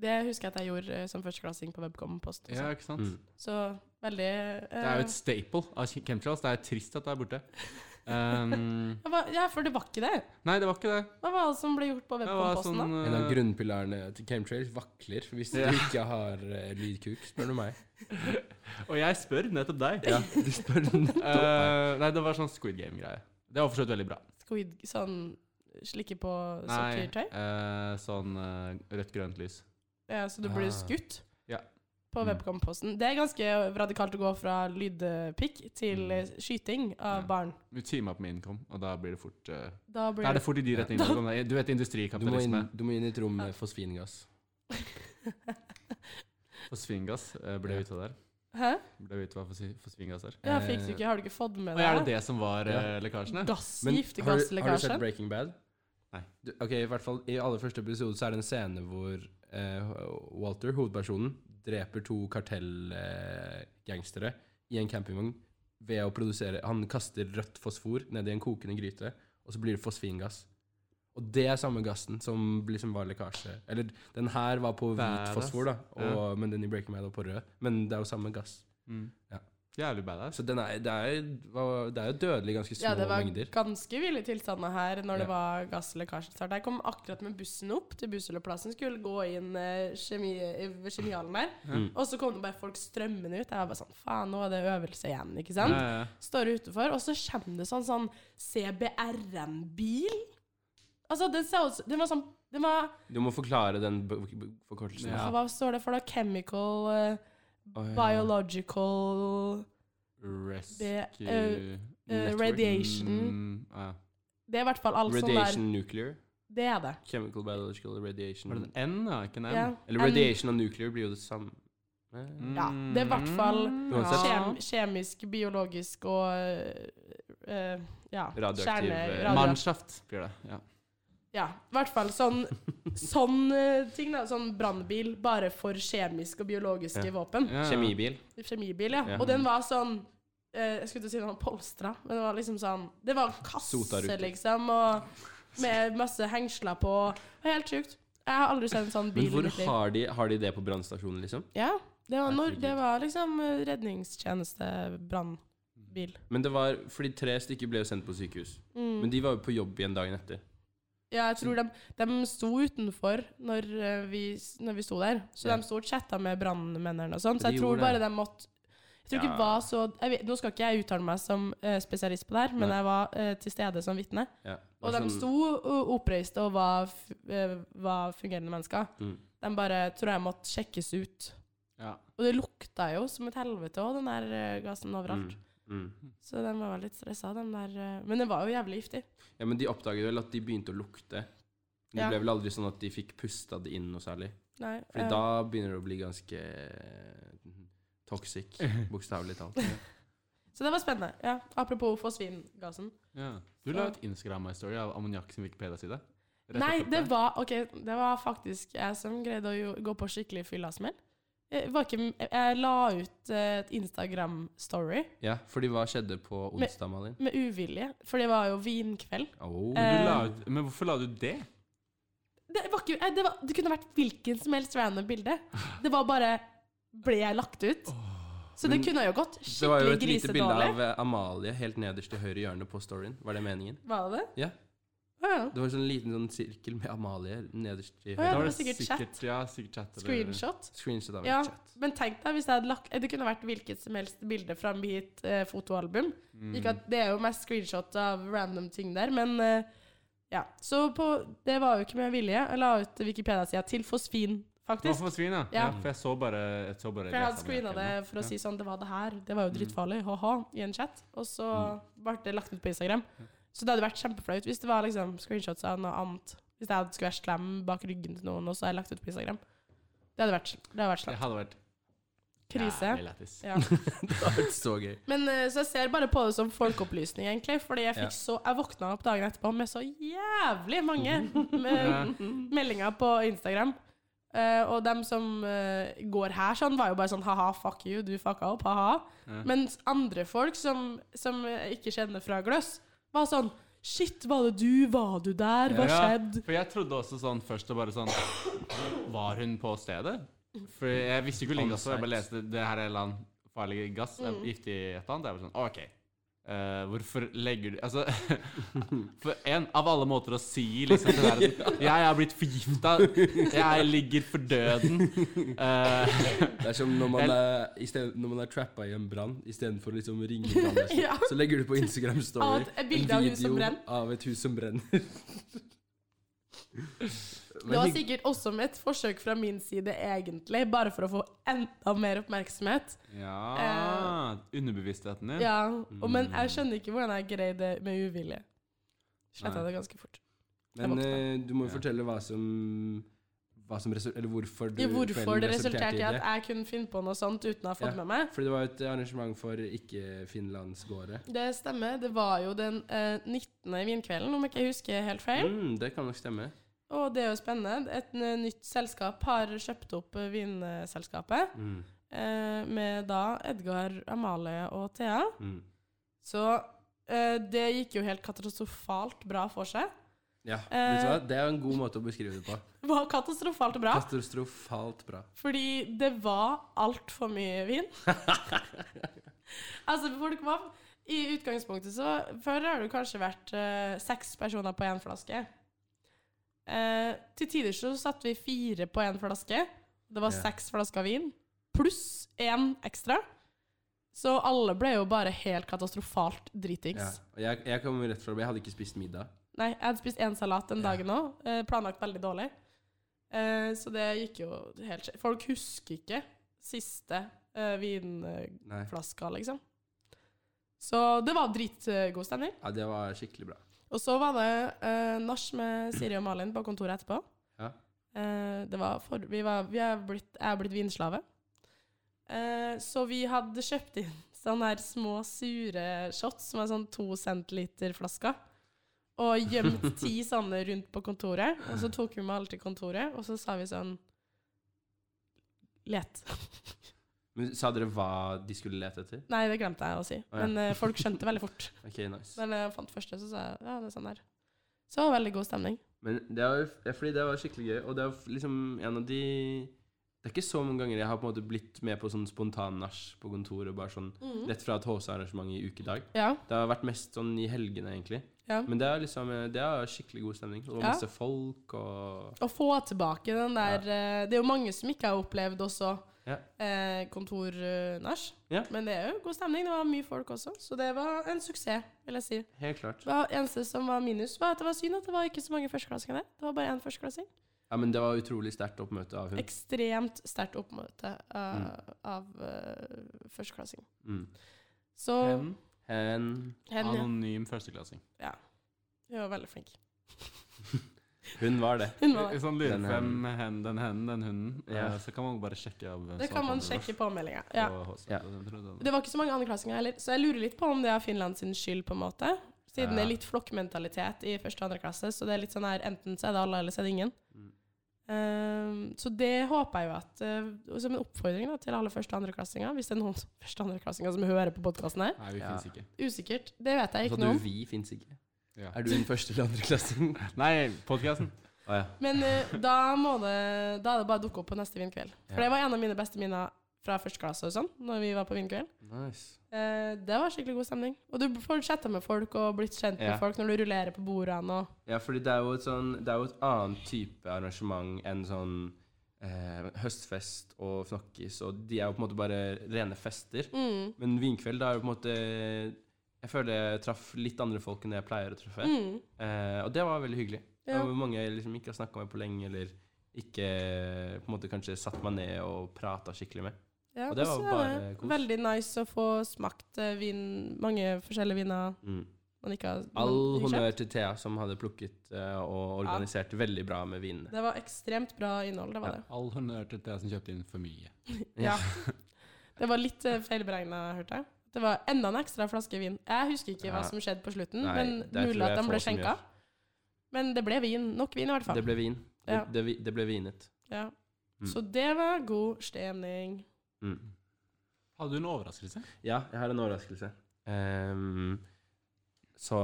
Det husker jeg at jeg gjorde eh, som førsteklassing på Webcom-post. og
Ja,
sånn.
altså. ikke sant?
Mm.
Så veldig eh,
Det er jo et staple av ch- chemtrails. Det er trist at det er borte. Um,
jeg var, Ja, for det var ikke det.
nei, det var ikke det.
Hva var det som ble gjort på
Det var
Webcom-posten,
sånn
da?
En av
eh,
grunnpilarene til Camtrails vakler hvis du
Ja.
ikke har eh, lydkuk, spør du meg.
Og jeg spør nettopp deg.
Ja, du spør nettopp meg.
Eh, nei, det var sånn Squid Game-greie. Det sånn var for så vidt veldig bra.
Squid, sånn slikke på
Nei,
sukkertøy?
eh, sånn eh, rødt-grønt lys.
Ja, så du blir
Ah.
skutt?
Ja.
På
Mm.
Webcom-posten. Det er ganske radikalt å gå fra lydpikk til
Mm.
eh, skyting av
Ja.
barn.
Du teamer opp med income, og da blir det fort eh,
Da
Da
blir
er
det
det fort i de
Ja.
retningene. Du vet
Du må, inn,
industrikapitalisme.
du må inn i et rom med fosfingass.
For svingas eh, ble jeg ute der.
Hæ?
Ble ute for, si- for svingas der.
Ja, fikk
Eh,
du ikke, har du ikke fått med
Og er det
deg
det som var eh, lekkasjene?
Men
Gassgift,
har, du, har du sett
gasslekkasjen?
Breaking Bad?
Nei.
Du, ok, I hvert fall i aller første episode så er det en scene hvor eh, Walter, hovedpersonen, dreper to kartellgangstere eh, gangstere i en campingvogn ved å produsere Han kaster rødt fosfor ned i en kokende gryte, og så blir det fosfingass. Og det er samme gassen som liksom var lekkasje. Eller den her var på hvit
Badass.
fosfor, da, og, men den i Breaking Bad var på rød. Men det er jo samme gass.
Mm.
Ja.
Jævlig badass.
Så den er, det, er, det er jo dødelig ganske små
Ja, det var
mengder.
ganske ville tilstander her når det
Ja.
var gasslekkasje. snart. Jeg kom akkurat med bussen opp til Busseløplassen, skulle gå inn eh, kjemi, eh, ved kjemihallen der.
Mm.
Og så kom det bare folk strømmende ut. Jeg var bare sånn Faen, nå er det øvelse igjen, ikke
Ja,
sant?
ja, ja.
Står utenfor, og så kommer det sånn, sånn CBRN-bil. Altså, den så ut som Den var sånn Den var
Du må forklare den b- b- forkortelsen.
Ja.
Hva står det for, da? Chemical eh,
Oi, ja.
Biological
Rescue
Det, eh, eh, radiation.
Mm, ah, ja.
Det er i hvert fall alt sånn der.
Radiation nuclear.
Det er det.
Chemical biological radiation.
Var det en N, da? Ikke en M?
Ja.
Eller
En-
radiation og nuclear blir jo det samme. Eh,
Mm.
Ja, det er i hvert fall
Uansett.
Kjem, kjemisk, biologisk og eh, eh, ja,
Radioaktiv,
kjerne...
eh,
radio-
Mannschaft blir det. Ja.
Ja, i hvert fall sånn, sånn eh, ting da, sånn brandbil, bare for kjemisk og biologiske
Ja.
våpen.
Ja, ja.
Kjemibil.
Kjemibil, ja.
Ja.
Og den var sånn, eh, jeg skulle til å si den var polstra, men det var liksom sånn, det var en
Sota
kasse
ruter.
liksom, og med masse hengsler på, det var helt sykt. Jeg har aldri sett en sånn
Men
bil
hvor
i mitt liv.
har de, har de det på brannstasjonen, liksom?
Ja, det var, når,
Herregud.
det var liksom eh, redningstjeneste, brandbil.
Men det var fordi tre stykker ble jo sendt på sykehus.
Mm.
Men de var jo på jobb igjen dagen etter.
Ja, jeg tror de, de sto utenfor når eh, vi, når vi sto der. Så
Ja.
de sto og chatta med brannmennene og sånn.
Ja,
Så
de
jeg tror
gjorde
bare de
det.
måtte jeg tror ikke
Ja.
det var så jeg vet, Nå skal ikke jeg uttale meg som eh, spesialist på det her, men
Nei.
jeg var eh, til stede som vitne.
Ja.
Og de
sånn-
sto og oppreiste og var, f- eh, var fungerende mennesker.
Mm.
De bare tror jeg måtte sjekkes ut.
Ja.
Og det lukta jo som et helvete òg, den der eh, gassen overalt.
Mm.
Så de var vel litt stressa, de der. eh, Men den var jo jævlig giftig.
Ja, men de oppdaget vel at de begynte å lukte. Men det
Ja.
ble vel aldri sånn at de fikk pusta det inn noe særlig.
Nei,
Fordi
eh,
da begynner det å bli ganske mm, toxic, bokstavelig talt.
Så det var spennende. Ja, apropos fosfingassen.
Ja. Du la ut Instagram-story av ammoniakk sin Wikipedia-side. Rett
Nei,
opp
det
der.
var, ok, det var faktisk jeg som greide å jo, gå på skikkelig fyllasmell. Jeg, var ikke- jeg la ut eh, et Instagram-story
Ja, fordi hva skjedde på
Men-
onsdag, Malin?
med uvilje, for det var jo vinkveld.
Oh,
Men
Eh,
Du la ut, men hvorfor la du det?
Det, var ikke, eh, det, var, det kunne vært hvilken som helst random bilde. Det var bare Ble jeg lagt ut? Så det
Men
kunne jo gått
det var jo
skikkelig
et lite bilde
grisedårlig.
av eh, Amalie helt nederst i høyre hjørne på storyen. Var det meningen?
Var det det?
Ja.
Å ja.
Det var sånn liten sånn sirkel med Amalie nederst i
Ja, det
høyre.
Da
var sikkert chat.
Ja, sikkert chat. eller-
Screenshot.
Screenshot av en
Ja,
chat.
men tenk deg hvis jeg hadde lagt eh, Det kunne vært hvilket som helst bilde fra mitt eh, fotoalbum.
Mm.
Ikke at det er jo mest screenshot av random ting der, men eh, ja. Så på, det var jo ikke med vilje. Jeg la ut Wikipedia-sida til fosfin,
Det var
faktisk.
for svin, ja.
Ja.
ja. For jeg så bare jeg så bare
For jeg hadde
det
screena det
samme.
for å
Ja. Mm.
si sånn Det var det her. Det var jo drittfarlig. Ha-ha. I en chat. Og så ble det lagt ut på Instagram. Så det hadde vært kjempeflaut hvis det var liksom screenshots av noe annet. Hvis jeg hadde skulle være slem bak ryggen til noen, og så hadde jeg lagt ut på Instagram. Det hadde vært, det hadde vært
Det
slem.
hadde vært
Krise.
jævlig lættis.
Ja.
Det var så gøy.
Men eh, så jeg ser bare på det som folkeopplysning, egentlig. Fordi jeg,
Ja.
fikk så, jeg våkna opp dagen etterpå med så jævlig mange
Ja.
med meldinger på Instagram. Eh, og dem som eh, går her sånn, var jo bare sånn ha-ha, fuck you, du fucka opp, ha-ha.
Ja.
Mens andre folk som, som jeg ikke kjenner fra gløss, var sånn shit, var det du, var du der, hva
Ja,
skjedde?
For jeg trodde også sånn først og bare sånn Var hun på stedet? For jeg visste ikke hvor lenge også, jeg bare leste det her er en eller annen farlig gass, mm. giftig et eller annet. Jeg var sånn OK. eh, hvorfor legger du Altså For en av alle måter å si liksom det der Jeg er blitt forgifta. Jeg ligger for døden. eh,
Det er som når man er, i sted, når man er trappa i en brann, istedenfor å liksom ringe brannvesenet,
Ja.
så legger du på Instagram
Av
Story
et- et bilde av hus som brenner.
av et hus som brenner.
Det var sikkert også et forsøk fra min side, egentlig, bare for å få enda mer oppmerksomhet.
ja Mm. Underbevisstheten din.
Eh, Ja, og, men jeg skjønner ikke hvordan jeg greide det med uvilje. Sletta
Nei.
det ganske fort.
Men
Jeg våkna.
eh, du må jo
Ja.
fortelle hva som hva som resul- eller hvorfor, du,
Ja, hvorfor
kvelden
det resulterte i
det.
at jeg kunne finne på noe sånt uten å ha fått
Ja.
med meg.
Fordi det var et arrangement for ikke-finlandsgåere.
Det stemmer. Det var jo den eh, 19. vinkvelden, om ikke jeg husker helt feil.
Mm, det kan nok stemme.
Og det er jo spennende. Et eh, nytt selskap har kjøpt opp eh, vinselskapet.
Mm,
eh, med da Edgar, Amalie og Thea.
mm.
Så eh, det gikk jo helt katastrofalt bra for seg.
Ja,
Eh,
vet du hva? Det er jo en god måte å beskrive det på.
Det var katastrofalt bra,
Katastrofalt bra.
fordi det var altfor mye vin. altså, folk var I utgangspunktet så Før har det kanskje vært eh, seks personer på én flaske. Eh, til tider så satt vi fire på én flaske. Det var
Ja.
seks flasker vin. Pluss én ekstra. Så alle ble jo bare helt katastrofalt
Ja.
dritings.
Og Jeg, jeg kom rett fra Jeg hadde ikke spist middag.
Nei, jeg hadde spist én salat den
Ja.
dagen òg. Eh, planlagt veldig dårlig. Eh, så det gikk jo helt skjevt. Folk husker ikke siste eh, vinflaska,
Nei.
liksom. Så det var dritgod stemning.
Ja, det var skikkelig bra.
Og så var det eh, nach med Siri og Malin på kontoret etterpå.
Ja.
Eh, det var for, vi var, vi er blitt, jeg er blitt vinslave. Eh, så vi hadde kjøpt inn sånne her små sure shots, som er sånn to centiliter flasker. Og gjemt ti sånne rundt på kontoret. Og så tok vi med alle til kontoret, og så sa vi sånn Let.
Men Sa dere hva de skulle lete etter?
Nei, det glemte jeg å si.
Å, ja.
Men eh, folk skjønte veldig fort.
Ok, nice.
Men jeg fant første, så sa jeg ja, det er sånn der. Så det var veldig god stemning.
Men det var, ja, fordi det var skikkelig gøy, og det er liksom en av de Det er ikke så mange ganger jeg har på en måte blitt med på sånn spontan nach på kontoret, bare sånn
Mm.
rett fra et HC-arrangement i ukedag.
Ja,
Det har vært mest sånn i helgene, egentlig.
ja.
Men det er liksom eh, Det er skikkelig god stemning. Og
Mm. Ja.
masse folk og
Å få tilbake den der eh, Det er jo mange som ikke har opplevd også
Ja.
eh, kontornach.
Ja.
Men det er jo god stemning. Det var mye folk også, så det var en suksess, vil jeg si.
Helt klart.
Det var- eneste som var minus, var at det var synd at det var ikke så mange førsteklassinger der. Det var bare én førsteklassing.
Ja, men det var utrolig sterkt oppmøte av hun.
Ekstremt sterkt oppmøte eh, av eh, førsteklassing.
Mm.
Så
En
Hen
hen, ja.
anonym førsteklassing.
Hun var veldig flink.
Hun var det.
Hun var
Hvis man lurer
Den
på hvem sånn hen, den hen, den hunden,
Ja.
eh, så kan man bare sjekke av hvem
Det
som
kan
har
man
fått den
sjekke i påmeldinga.
på
Ja.
HC.
Ja.
Jeg tror det-
Det var ikke så mange andreklassinger heller, så jeg lurer litt på om det er Finland sin skyld, på en måte. Siden
Ja.
det er litt flokkmentalitet i første og andre klasse, så det er litt sånn her enten så er det alle, eller så er det ingen.
Mm.
Ehm, så det håper jeg jo at eh, Som en oppfordring da, til alle første- og andreklassinger, hvis det er noen som- første- og andreklassinger som hører på podkasten her.
Nei, vi
Ja.
finnes ikke.
Usikkert. Det vet jeg
Så
ikke
du
noe om.
vi fins ikke.
Ja.
Er du en første- eller andreklassing?
Nei, podkasten.
Å ja.
Men eh, da, må det, da er det bare å dukke opp på neste vindkveld. For
Ja.
det var en av mine beste minner fra første klasse og sånn, når vi var på vindkveld.
Nice.
Eh, det var skikkelig god stemning. Og du får chatta med folk og blitt kjent med
Ja.
folk når du rullerer på bordene og
Ja, fordi det er jo et sånn Det er jo et annet type arrangement enn sånn eh, høstfest og fnokkis, og de er jo på en måte bare rene fester.
mm,
Men vinkveld, da er jo på en måte Jeg føler jeg traff litt andre folk enn jeg pleier å treffe.
mm,
Eh, og det var veldig hyggelig. Det
ja.
var mange jeg liksom ikke har snakka med på lenge, eller ikke på en måte kanskje satt meg ned og prata skikkelig med.
ja.
og det var
så er
bare
det
kos.
Veldig nice å få smakt eh, vin, mange forskjellige viner man ikke har man
Mm. All
ikke kjøpt.
honnør til Thea, som hadde plukket eh, og organisert veldig bra med vinene.
Det var ekstremt bra innhold, det var det.
All honnør til deg som kjøpte inn for mye.
Ja. Det var litt uh, feilberegna, hørte jeg. Det var enda en ekstra flaske vin. Jeg husker ikke hva
Ja.
som skjedde på slutten,
Nei, det
men
tror
mulig at
jeg
den ble
få som
skjenka.
gjør.
Men det ble vin. Nok vin, i hvert fall.
Det ble vin. Det,
Ja.
det, vi- det ble vinet.
Ja.
Mm.
Så det var god stemning.
Hadde du en overraskelse?
Ja, jeg har en overraskelse. Ehm, så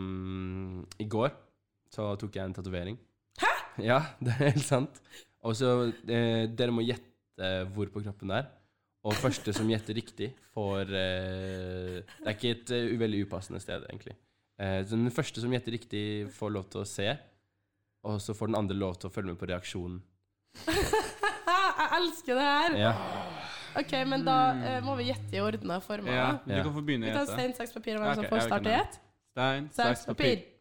mm, I går så tok jeg en tatovering. Hæ?! Ja, det er helt sant. Og så eh, Dere må gjette hvor på kroppen det er. Og første som gjetter riktig, får eh, Det er ikke et eh, veldig upassende sted, egentlig. Eh, så den første som gjetter riktig, får lov til å se. Og så får den andre lov til å følge med på reaksjonen.
jeg elsker det her!
Ja.
Ok, men da eh, må vi gjette i ordna former. da.
du kan få begynne
Vi
å
tar
gjette.
stein, saks, papir om hvem
Ok,
som får
jeg
starte
kan
i
det.
ett.
Stein,
Saks, papir.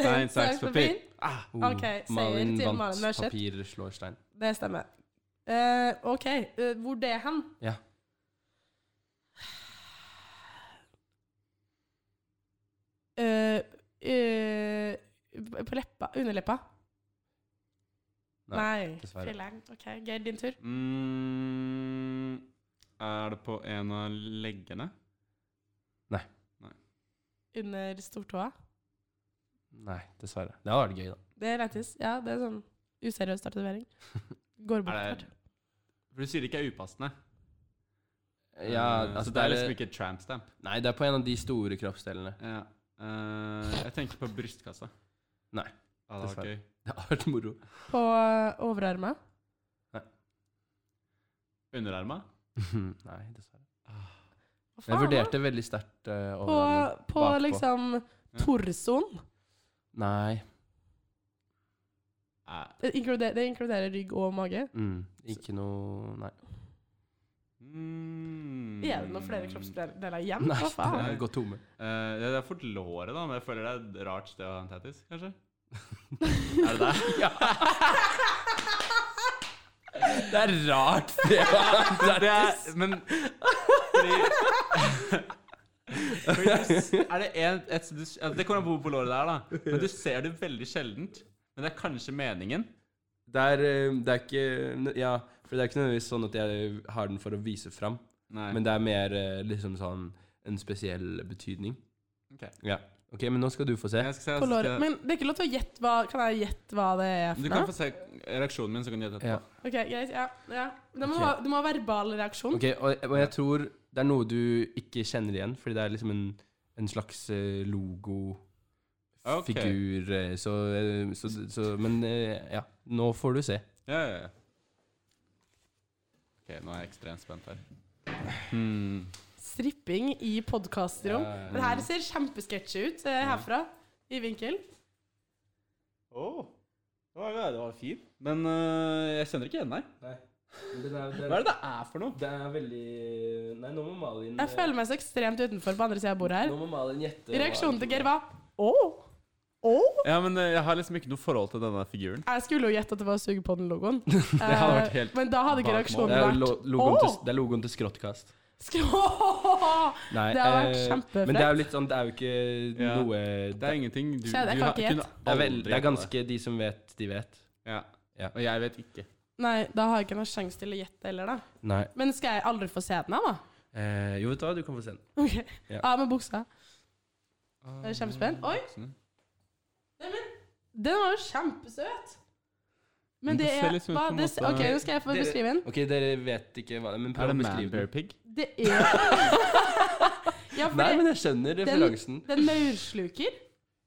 Stein, saks, papir.
Ah, oh,
Ok, seier
Malin
til
vant.
Malin Lørseth.
Papir slår stein.
Det stemmer. Eh, OK, eh, hvor det er hen?
Ja.
Eh, eh, på leppa. Underleppa. Nei.
dessverre.
Frilang. Ok, Geir, din tur.
Mm, er det på en av leggene?
Under stortåa.
Nei, dessverre. Det hadde vært gøy, da.
Det er lættis. Ja, det er sånn useriøs tatovering. Går bort
Er
hvert.
det, for du sier det ikke er upassende.
Ja,
Eh,
altså
så det er
det-
liksom ikke et tramp stamp.
Nei, det er på en av de store kroppsdelene.
Ja. Eh, jeg tenker på brystkassa.
Nei,
Ah, det var
dessverre.
gøy.
Det hadde vært moro.
På overarmen.
Underarma?
Nei, dessverre.
Hva faen,
Jeg
da?
vurderte veldig sterkt eh,
På,
overarmen.
på
Bakpå.
liksom torsoen.
Nei.
Eh,
Det inkluderer, det inkluderer rygg og mage.
Mm, ikke noe Nei.
mm.
Er det noen flere kroppsdeler igjen?
Nei,
Hva
det
faen?
er gått tomme.
Eh, ja, det er fort låret, da, men jeg føler det er et rart sted å ha en tattis, kanskje? er det det?
Ja. Det er rart det
Det er, men fordi, fordi du s- Er det en, et, du, s- ja, Det kommer an på hvor på låret det er, da. Men du ser det veldig sjeldent. Men det er kanskje meningen.
Det er, eh, det er ikke nø- Ja, for det er ikke nødvendigvis sånn at jeg har den for å vise fram,
Nei.
men det er mer eh, liksom sånn en spesiell betydning.
Ok.
Ja. Ok, men nå skal du få se.
Jeg skal se,
På
jeg
låret.
skal-
Men det er ikke lov til å gjette hva Kan jeg gjette hva det er
altså, du
for
kan
noe?
få se reaksjonen min, så kan du gjette etterpå.
Ja.
Ok, greit. Ja. ja. Det må,
Ok.
ha, du må ha verbal reaksjon.
Ok, og, og jeg tror det er noe du ikke kjenner igjen, fordi det er liksom en, en slags eh, logo
Ok.
Figur eh, så, eh, så, så Men eh, ja, nå får du se.
Ja, ja, ja. Ok, nå er jeg ekstremt spent her. Hmm.
Stripping i podkastrom.
Ja, ja, ja.
Det her ser kjempesketsjy ut eh, herfra. I vinkel.
Oh. Det var, det var fin. Men øh, jeg kjenner ikke igjen deg. Hva er det det er for noe?
Det er veldig Nei, nå må Malin eh,
Jeg føler meg så ekstremt utenfor på andre sida av bordet her.
Nå må Malin gjette.
Reaksjonen til Geir var Å! Å!
Ja, men øh, Jeg har liksom ikke noe forhold til denne figuren.
Jeg skulle jo gjette at det var Sugepodden-logoen.
hadde vært
Eh,
helt
Men da hadde ikke
bak
reaksjonen
Det er, lo
vært
logoen, til,
Åh!
det er logoen til skråttkast.
Skrå!
Nei,
Det har vært kjempeflett.
Men det er jo litt sånn Det er jo ikke
Ja.
noe
Det er ingenting du,
Kjære, jeg
du
kan
har-
ikke
kunne
det er, vel,
aldri
det er
gjette
ganske De som vet, de vet.
Ja.
Ja.
Og jeg vet ikke.
Nei, da har jeg ikke noen sjanse til å gjette heller, da.
Nei.
Men skal jeg aldri få se den her, da?
Eh, jo, vet du hva, du kan få se den.
Ok.
Ja.
Av med buksa. Jeg er kjempespent. Oi!
sånn.
Neimen, den var jo kjempesøt!
Men
Men det
det ser
er
liksom ut
hva,
på en
det, ser-
måte-
Ok, nå skal jeg få
Dere-
beskrive den.
Ok, dere vet ikke hva det er, men
Er
prøv å
det
beskrive den.
manbearpig?
Det er Ja, for
Nei,
det,
men jeg skjønner
den-
referansen.
den maursluker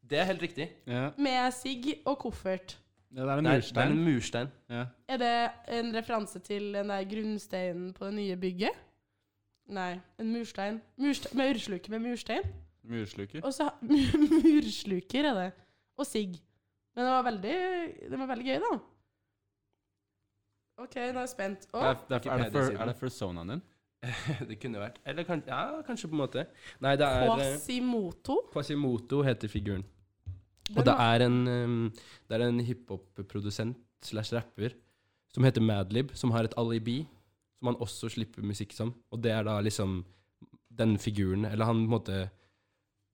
Det er helt riktig.
Ja.
med sigg og koffert.
ja. Det er en
Det er, det
murstein.
er en murstein.
Ja.
Er det en referanse til den der grunnsteinen på det nye bygget? Nei, en murstein. Murste maursluker med murstein.
Mursluker.
Og så mursluker er det. Og sigg. Men det var veldig, det var veldig gøy, da. OK, nå er jeg spent. Å,
Det er, det er, er, det for,
Wikipedia-siden.
er det personaen din?
Det kunne vært Eller kan, ja, kanskje på en måte. Nei, det er eh,
Quasimoto.
Quasimoto heter figuren.
Den
Og det
var-
er en, um, det er en hiphop-produsent slash rapper som heter Madlib, som har et alibi, som han også slipper musikk som. Og det er da liksom den figuren Eller han på en måte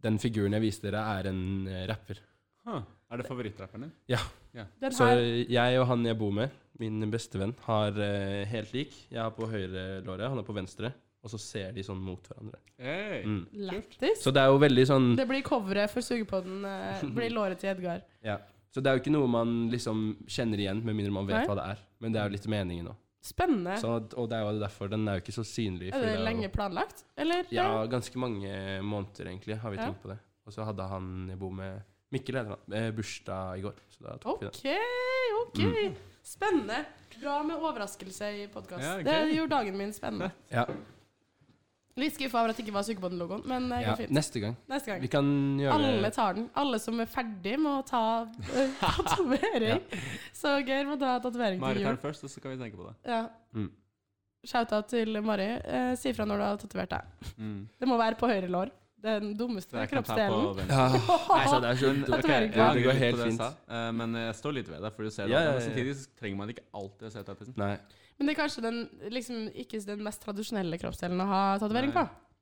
Den figuren jeg viste dere, er en eh, rapper.
Huh. Er det favorittrapperen din?
Den
Så
her,
jeg og han jeg bor med, min bestevenn, har eh, helt lik. Jeg har på høyre låret, han har på venstre. Og så ser de sånn mot hverandre.
Hey.
Mm.
lættis.
Så det er jo veldig sånn
Det blir coveret for sugepodden. eh, Blir låret til Edgar.
Ja. Så det er jo ikke noe man liksom kjenner igjen, med mindre man vet
Nei.
hva det er. Men det er jo litt meningen òg.
Spennende.
Og det er jo derfor den er jo ikke så synlig.
Er
fordi
det
jo-
lenge planlagt, eller?
Ja, ganske mange måneder, egentlig, har vi
Ja.
tenkt på det. Og så hadde han jeg bor med Mikkel heter han, eh, bursdag i går, så da tok vi den.
OK, OK. Spennende. Bra med overraskelse i podkast.
Ja,
Det
gøy.
gjorde dagen min spennende.
Ja,
Litt skuffa over at det ikke var sugepodden-logoen, men det
ja.
går fint.
Neste gang.
Neste gang.
Vi kan gjøre
Alle tar den. Alle som er ferdig, må ta eh, tatovering. Så Geir må ta tatovering
Marit
til jul.
tar den først, og så kan vi tenke på det.
Ja.
Mm.
Shout-out til Mari. Eh, si fra når du har tatovert deg.
Mm.
Det må være på høyre lår. Den dummeste
Jeg kan ta på
kroppsdelen.
venstre.
Ja. Nei, så det er så
Men,
dumt.
ok, Tatovering.
jeg
ja,
det
angrer litt
går
på
helt
det jeg
fint.
sa, eh, men jeg står litt ved det, for du ser det.
Ja, ja,
Men
ja.
samtidig så trenger man ikke alltid å se tattisen.
Nei.
Men det er kanskje den, liksom, ikke den mest tradisjonelle kroppsdelen å ha tatovering
Nei.
på.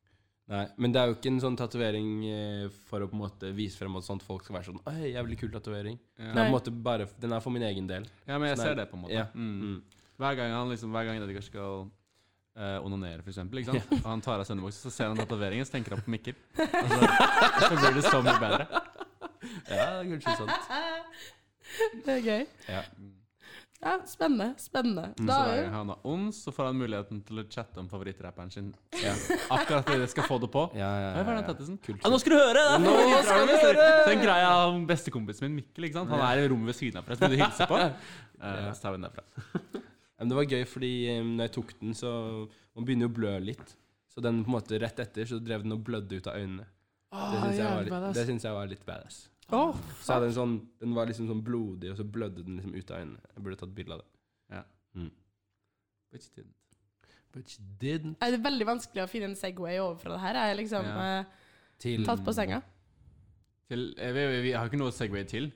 Nei, Men det er jo ikke en sånn tatovering eh, for å på en måte vise frem at sånt folk skal være sånn Oi, jævlig kul tatovering.
Ja.
Den, er på
Nei.
en måte bare- den er for min egen del.
Ja, men jeg
Sånn er
ser det på en måte.
Ja.
Mm.
Mm.
Hver gang han liksom, hver gang Edgar skal eh, onanere, for eksempel, ikke sant? og han tar av søndebuksa, så ser han tatoveringen, så tenker han på Mikkel. Og så, så blir det så mye bedre.
Ja, det er kanskje sant.
Det er gøy.
Ja.
Ja, spennende. Spennende.
Mm, Så
Da
hver
er
gang
jo
han har ond, så får han muligheten til å chatte om favorittrapperen sin.
Ja.
Akkurat fordi det skal få det på.
Ja, ja,
Hva er det
ja, ja.
Tattisen?
Kult.
Ja, nå skal du høre! Det er
Nå skal
favorittrapperen
du
min, sier-
høre!
Så Den greia om bestekompisen min Mikkel, ikke sant? Han er i rommet ved siden av for jeg skulle hilse på. Eh, så tar vi den derfra.
Ja, Men det var gøy, fordi eh, når jeg tok den, så Man begynner jo å blø litt. Så den på en måte rett etter, så drev den og blødde ut av øynene.
Ah,
Det syns jeg, var
jævlig
litt-
badass.
det syns jeg var litt badass.
Åh,
Så hadde den sånn Den var liksom sånn blodig, og så blødde den liksom ut av øynene. Jeg burde tatt bilde av det.
Ja.
Mm. But you didn't. But you didn't.
er det veldig vanskelig å finne en Segway over fra det her? Er jeg liksom
Ja.
eh,
Til
tatt på senga?
Til, eh, vi, vi, vi har ikke noe Segway til.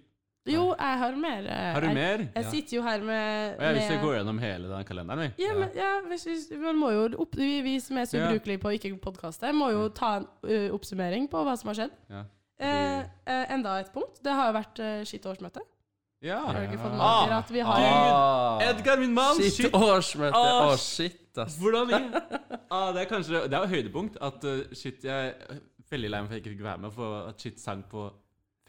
Jo, jeg har mer. eh,
Har du
jeg-
mer?
Jeg
Ja.
sitter jo her med,
Og jeg vil ikke
med
gå gjennom hele den kalenderen, vi.
ja, men, ja, hvis, hvis, man må jo opp, vi, vi som er så
Ja.
ubrukelige på å ikke podkaste, må jo ta en ø, oppsummering på hva som har skjedd.
Ja.
Eh, eh, enda et punkt. Det har jo vært uh, skitt årsmøte.
Ja.
Har du ikke fått med
Ah.
dere at vi har
Ah,
Edgar, min mann!
Shit,
Shit!
årsmøte! Å,
Ah,
shit, ass.
Hvordan ah, Det er kanskje Det er jo høydepunkt at eh, shit Jeg er veldig lei meg for at jeg ikke fikk være med, for at shit sang på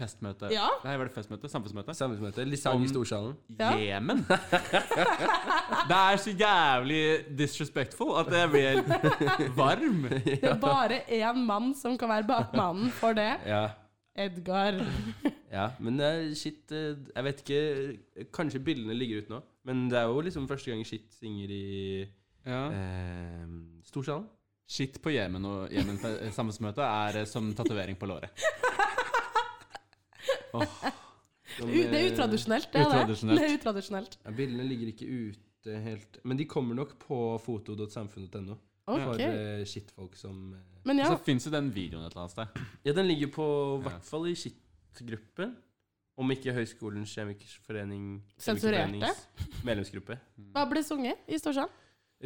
festmøte
Ja.
Nei, var det festmøte? Samfunnsmøte?
Samfunnsmøte. Litt sang
Om-
i storsalen.
Ja.
Jemen! Det er så jævlig disrespectful at jeg blir helt varm.
Det er bare én mann som kan være bakmannen for det.
Ja.
Edgar.
Ja, men det er shit eh, Jeg vet ikke eh, Kanskje bildene ligger ute nå, men det er jo liksom første gang shit synger i
Ja.
eh, Storsalen.
Shit på Jemen og Jemen fe- sammensmøte er eh, som tatovering på låret.
Som,
U- Det er
eh,
utradisjonelt, det er det.
Utradisjonelt.
Det er utradisjonelt.
Ja, bildene ligger ikke ute helt Men de kommer nok på foto.samfunn.no for
Ok.
eh, shitfolk som eh,
Men ja,
Så fins jo den videoen et eller annet sted.
Ja, den ligger på
Ja.
hvert fall i shit-gruppen. Om ikke Høgskolens kjemikerforening
Sensurerte?
Kjemikerforenings medlemsgruppe.
hva ble sunget i Storsand?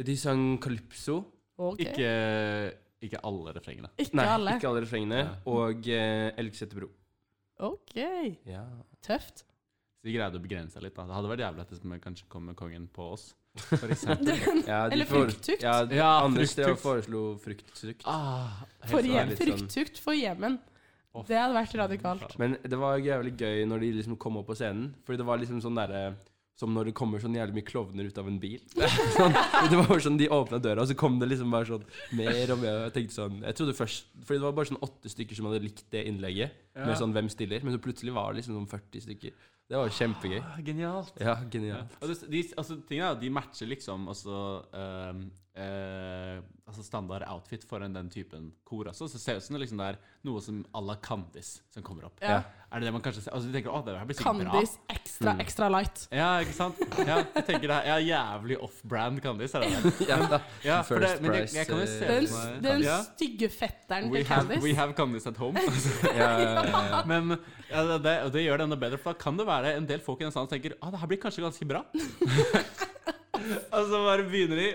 De sang Calypso.
Ok. Ikke,
Ikke, ikke alle refrengene.
Nei,
alle.
ikke alle refrengene.
Ja.
Og eh, Elgseterbro.
Ok.
Ja.
Tøft.
Så de greide å begrense seg litt. da. Det hadde vært jævlig at det som kanskje kom med kongen på oss. For eksempel.
Ja, de
Eller
fore-
frukttukt.
Ja,
ja,
Anders drev og
frukttukt.
foreslo frukttukt.
Ah, helt
For
sånn.
er
hjem,
litt sånn-
frukttukt for Jemen.
Å,
Det hadde vært radikalt.
Men det var jævlig gøy når de liksom kom opp på scenen. Fordi det var liksom sånn derre Som når det kommer sånn jævlig mye klovner ut av en bil. Sånn, det var bare sånn De åpna døra, og så kom det liksom bare sånn mer og mer. Og jeg tenkte sånn Jeg trodde først Fordi det var bare sånn åtte stykker som hadde likt det innlegget. Med sånn 'Hvem stiller?' Men så plutselig var det liksom sånn 40 stykker. Det var kjempegøy.
Ah, Genialt.
Ja,
Ja.
genialt.
Og det, de, altså, tingene er at de matcher liksom altså, ehm, eh, altså standard outfit for en, den typen kor også. Så ser det ut som det liksom det er noe som à la Candis som kommer opp.
Ja.
Er det det man kanskje ser? Altså, du tenker, å, det her blir sikkert bra. Mm.
Candis ekstra, ekstra light.
Ja, ikke sant? Ja, jeg tenker det her, ja, jævlig off-brand Candis, er det det?
Ja, da.
Ja, for det,
First
men jeg,
price,
jeg kan jo
eh,
se
Den,
for meg-
den
Ja.
stygge fetteren
We
til
have, we
Candis.
have Candis at home.
Ja, ja, ja, ja.
Men ja, det, det, og det gjør det enda bedre, for da kan det være en del folk i den salen som tenker ah, det her blir kanskje ganske bra. og så bare begynner de